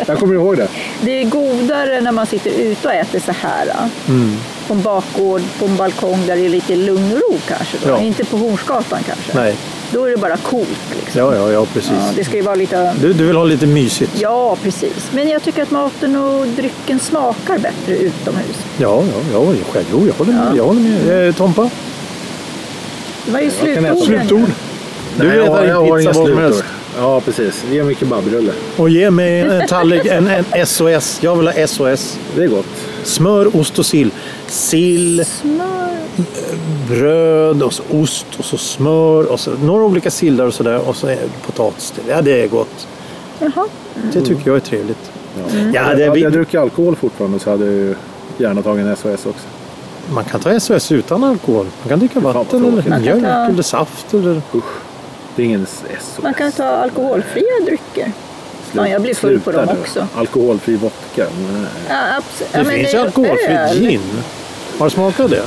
[SPEAKER 2] Jag kommer ihåg det.
[SPEAKER 3] det är godare när man sitter ute och äter så här. då.
[SPEAKER 1] Mm.
[SPEAKER 3] På en bakgård, på en balkong där det är lite lugn och ro kanske. Då.
[SPEAKER 1] Ja.
[SPEAKER 3] Inte på Hornsgatan kanske.
[SPEAKER 1] Nej,
[SPEAKER 3] Då är det bara coolt. Liksom.
[SPEAKER 1] ja, ja, ja
[SPEAKER 3] Ja,
[SPEAKER 1] precis.
[SPEAKER 3] det ska ju vara lite...
[SPEAKER 1] Du, du vill ha lite mysigt?
[SPEAKER 3] Ja, precis. Men jag tycker att maten och drycken smakar bättre utomhus.
[SPEAKER 1] Ja, ja, ja, ja jo, jag håller med. Jag håller med. Eh, Tompa?
[SPEAKER 3] Det var ju
[SPEAKER 2] kan äta
[SPEAKER 3] slutorden.
[SPEAKER 2] slutord.
[SPEAKER 1] Du
[SPEAKER 2] Nej, jag
[SPEAKER 1] letar
[SPEAKER 2] har-
[SPEAKER 1] in
[SPEAKER 2] jag har
[SPEAKER 1] pizza
[SPEAKER 2] inga
[SPEAKER 1] var som
[SPEAKER 2] slutord.
[SPEAKER 1] helst.
[SPEAKER 2] Ja, precis. Ge mig kebabrulle.
[SPEAKER 1] Och ge mig en tallrik, en, en SOS. Jag vill ha SOS.
[SPEAKER 2] Det är gott.
[SPEAKER 1] Smör, ost och sill. Sill,
[SPEAKER 3] Smör.
[SPEAKER 1] bröd och så ost och så smör och så några olika sillar och sådär och så är det potatis till. Ja, det är gott.
[SPEAKER 3] Jaha.
[SPEAKER 1] Det tycker jag är trevligt. Mm. Ja,
[SPEAKER 2] Hade
[SPEAKER 1] det,
[SPEAKER 2] jag, jag
[SPEAKER 1] vi,
[SPEAKER 2] druckit alkohol fortfarande så hade jag ju gärna tagit en SOS också.
[SPEAKER 1] man kan ta SOS utan alkohol. Man kan dricka
[SPEAKER 2] vad
[SPEAKER 1] vatten
[SPEAKER 2] tråkigt.
[SPEAKER 1] eller
[SPEAKER 3] Man kan
[SPEAKER 1] mjölk
[SPEAKER 3] ta-
[SPEAKER 1] eller saft eller...
[SPEAKER 2] Det är ingen SOS.
[SPEAKER 3] Man kan ta alkoholfria drycker. Ja, jag blir full på
[SPEAKER 2] Sluta
[SPEAKER 3] dem
[SPEAKER 2] nu.
[SPEAKER 3] också.
[SPEAKER 2] Alkoholfri vodka? Nej.
[SPEAKER 3] Ja, absolut.
[SPEAKER 1] Det
[SPEAKER 3] ja, men
[SPEAKER 1] finns
[SPEAKER 3] är
[SPEAKER 1] ju
[SPEAKER 3] ju
[SPEAKER 1] alkoholfri
[SPEAKER 3] öl.
[SPEAKER 1] gin. Har du smakat det?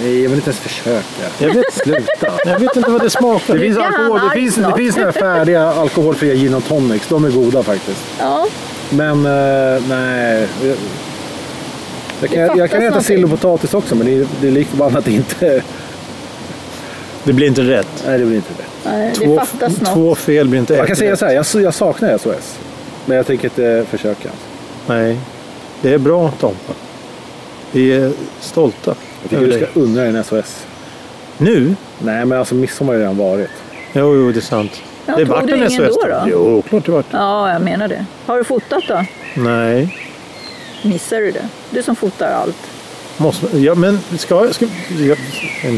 [SPEAKER 2] Nej, jag vill inte ens försöka.
[SPEAKER 1] Jag vet,
[SPEAKER 2] Sluta.
[SPEAKER 1] jag vet inte vad det smakar.
[SPEAKER 2] Det finns,
[SPEAKER 3] Lite
[SPEAKER 2] alkohol, det
[SPEAKER 3] anarkt
[SPEAKER 2] finns, det
[SPEAKER 3] då.
[SPEAKER 2] finns några färdiga alkoholfria gin och tonics. De är goda faktiskt.
[SPEAKER 3] Ja,
[SPEAKER 2] Men eh, nej. Jag, jag kan,
[SPEAKER 3] Det
[SPEAKER 2] jag kan
[SPEAKER 3] fattas
[SPEAKER 2] äta sill och
[SPEAKER 3] någonting.
[SPEAKER 2] potatis också men det är, det är lik förbannat inte.
[SPEAKER 1] Det blir inte rätt.
[SPEAKER 2] Nej, det blir inte rätt.
[SPEAKER 3] nej, det
[SPEAKER 1] Två,
[SPEAKER 3] fattas något.
[SPEAKER 1] två fel blir inte
[SPEAKER 2] Jag kan
[SPEAKER 1] ett
[SPEAKER 2] säga
[SPEAKER 1] rätt.
[SPEAKER 2] så här, jag, jag saknar SOS. Men jag tänker inte försöka.
[SPEAKER 1] Nej, det är bra Tompa. Vi är stolta
[SPEAKER 2] Jag tycker
[SPEAKER 1] över
[SPEAKER 2] du
[SPEAKER 1] dig.
[SPEAKER 2] ska undra dig en SOS.
[SPEAKER 1] Nu?
[SPEAKER 2] Nej, men alltså midsommar har ju redan varit.
[SPEAKER 1] Jo, jo, det är sant.
[SPEAKER 3] Ja,
[SPEAKER 1] det
[SPEAKER 3] tog
[SPEAKER 1] vart
[SPEAKER 3] du
[SPEAKER 1] en
[SPEAKER 3] ingen
[SPEAKER 1] SOS.
[SPEAKER 3] då, då?
[SPEAKER 1] Jo, klart det vart.
[SPEAKER 3] Ja, jag menar det. Har du fotat då?
[SPEAKER 1] Nej.
[SPEAKER 3] Missar du det? Du som fotar allt.
[SPEAKER 1] Måste, ja, men ska, ska jag?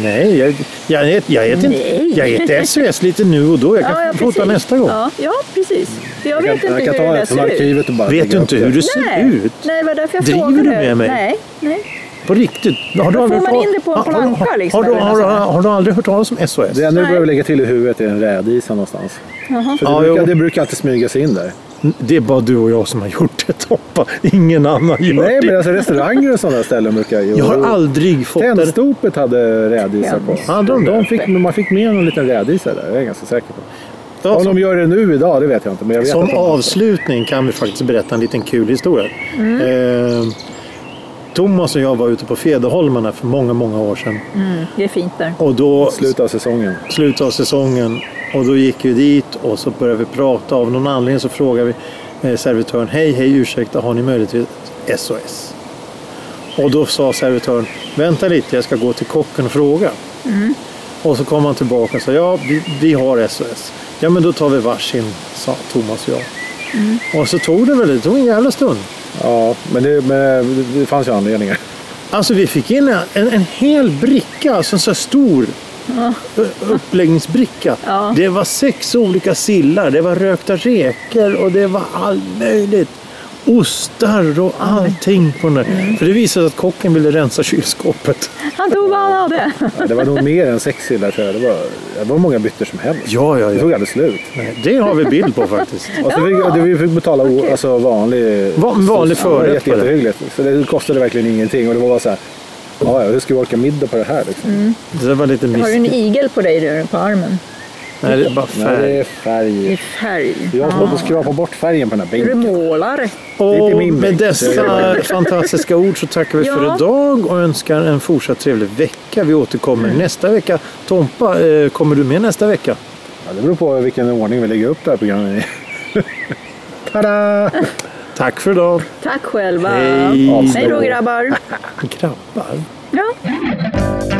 [SPEAKER 1] Nej, jag, jag, ät- jag äter inte.
[SPEAKER 3] Nej.
[SPEAKER 1] Jag äter SOS lite nu och då. Jag kan
[SPEAKER 3] ja, ja,
[SPEAKER 1] fota
[SPEAKER 3] precis.
[SPEAKER 1] nästa gång.
[SPEAKER 3] Ja, ja precis. För jag,
[SPEAKER 2] Jag
[SPEAKER 3] vet
[SPEAKER 2] kan, jag
[SPEAKER 3] inte
[SPEAKER 2] kan
[SPEAKER 3] hur
[SPEAKER 2] ta
[SPEAKER 3] det där
[SPEAKER 2] det från
[SPEAKER 3] ser ut.
[SPEAKER 2] arkivet och bara
[SPEAKER 1] Vet
[SPEAKER 2] lägga
[SPEAKER 1] du
[SPEAKER 2] upp
[SPEAKER 1] inte hur det ser
[SPEAKER 3] Nej.
[SPEAKER 1] ut?
[SPEAKER 3] Nej, det var därför jag
[SPEAKER 1] Driver
[SPEAKER 3] frågade.
[SPEAKER 1] du med mig?
[SPEAKER 3] Nej, nej.
[SPEAKER 1] På riktigt? Har
[SPEAKER 3] Då får
[SPEAKER 1] aldrig hört
[SPEAKER 3] man in
[SPEAKER 1] tal-
[SPEAKER 3] det på en
[SPEAKER 1] Har- har-
[SPEAKER 3] planka, liksom,
[SPEAKER 1] Har du,
[SPEAKER 3] eller
[SPEAKER 1] har,
[SPEAKER 3] något
[SPEAKER 1] du-
[SPEAKER 3] sånt där.
[SPEAKER 1] har du aldrig hört talas om SOS?
[SPEAKER 2] Det jag nu
[SPEAKER 3] Nej.
[SPEAKER 2] behöver lägga till i huvudet är en rädisa någonstans.
[SPEAKER 3] Jaha.
[SPEAKER 2] För det,
[SPEAKER 1] Ja,
[SPEAKER 2] brukar,
[SPEAKER 1] jo.
[SPEAKER 2] det brukar alltid smyga sig in där.
[SPEAKER 1] Det är bara du och jag som har gjort det Tompa. Ingen annan gör
[SPEAKER 2] Nej,
[SPEAKER 1] det.
[SPEAKER 2] men alltså restauranger och sådana ställen brukar ju...
[SPEAKER 1] Jag har aldrig fått det.
[SPEAKER 2] Tändstopet hade rädisa på.
[SPEAKER 1] Hade de det?
[SPEAKER 2] de fick, man fick med någon liten rädisa där, det är jag ganska säker på.
[SPEAKER 1] Ja,
[SPEAKER 2] Om
[SPEAKER 1] som,
[SPEAKER 2] de gör det nu idag, det vet jag inte. Men jag vet att
[SPEAKER 1] Alltså- som
[SPEAKER 2] de-
[SPEAKER 1] avslutning kan vi faktiskt berätta en liten kul historia.
[SPEAKER 2] Mm.
[SPEAKER 1] Eh, Thomas och jag var ute på Federholmarna för många, många år sedan.
[SPEAKER 3] Mm, det är fint där.
[SPEAKER 1] Och då,
[SPEAKER 2] Slutet av säsongen.
[SPEAKER 1] slutet av säsongen, och då gick vi dit och så började vi prata. Av någon anledning så frågade vi eh, servitören, hej, hej, ursäkta, har ni möjligtvis SOS? Och då sa servitören, vänta lite, jag ska gå till kocken och fråga. Och så kom han tillbaka och sa, ja, vi, vi har SOS. Ja, men då tar vi varsin, sa Thomas och jag. Och så tog det väl, det tog en jävla stund.
[SPEAKER 2] Ja, men det, men det fanns ju anledningar.
[SPEAKER 1] Alltså vi fick in en, en, en hel bricka, alltså en så här stor ö- uppläggningsbricka.
[SPEAKER 3] Ja.
[SPEAKER 1] Det var sex olika sillar, det var rökta räkor och det var allt möjligt. Ostar och allting på den där.
[SPEAKER 3] Mm.
[SPEAKER 1] För det visade sig att kocken ville rensa kylskåpet.
[SPEAKER 3] Han tog vad han hade.
[SPEAKER 2] Ja, Det var nog mer än sex sillar tror jag. Det var, det var många bytter som helst.
[SPEAKER 1] Ja, ja,
[SPEAKER 2] Det
[SPEAKER 1] ja.
[SPEAKER 2] tog aldrig slut.
[SPEAKER 1] Nej, Det har vi bild på faktiskt.
[SPEAKER 2] Och så fick, det- vi fick betala o, alltså vanlig...
[SPEAKER 1] Va- vanlig
[SPEAKER 2] Ja, det var
[SPEAKER 1] förrätt
[SPEAKER 2] jätte-
[SPEAKER 1] på det.
[SPEAKER 2] jättehyggligt. Så det kostade verkligen ingenting. Och det var bara så här, ja, ja, hur ska vi orka middag på det här liksom?
[SPEAKER 1] Det var lite
[SPEAKER 3] Har du
[SPEAKER 1] miss...
[SPEAKER 3] en igel på dig där på armen?
[SPEAKER 1] Nej, det är bara färg.
[SPEAKER 2] är färg.
[SPEAKER 3] I färg.
[SPEAKER 2] Jag håller på att skrapa bort färgen på den här
[SPEAKER 3] Du
[SPEAKER 2] bänken.
[SPEAKER 3] målar rätt.
[SPEAKER 2] inte
[SPEAKER 1] Och
[SPEAKER 2] min
[SPEAKER 1] med
[SPEAKER 2] bänk, så
[SPEAKER 1] dessa fantastiska ord så tackar vi
[SPEAKER 3] Ja.
[SPEAKER 1] för idag och önskar en fortsatt trevlig vecka. Vi återkommer
[SPEAKER 2] Mm.
[SPEAKER 1] nästa vecka. Tompa, eh, kommer du med nästa vecka?
[SPEAKER 2] Ja, det beror på vilken ordning vi lägger upp det här programmet i. Tada!
[SPEAKER 1] Tack för idag.
[SPEAKER 3] Tack själva.
[SPEAKER 1] Hej.
[SPEAKER 3] Hej då grabbar.
[SPEAKER 1] Grabbar.
[SPEAKER 3] Ja.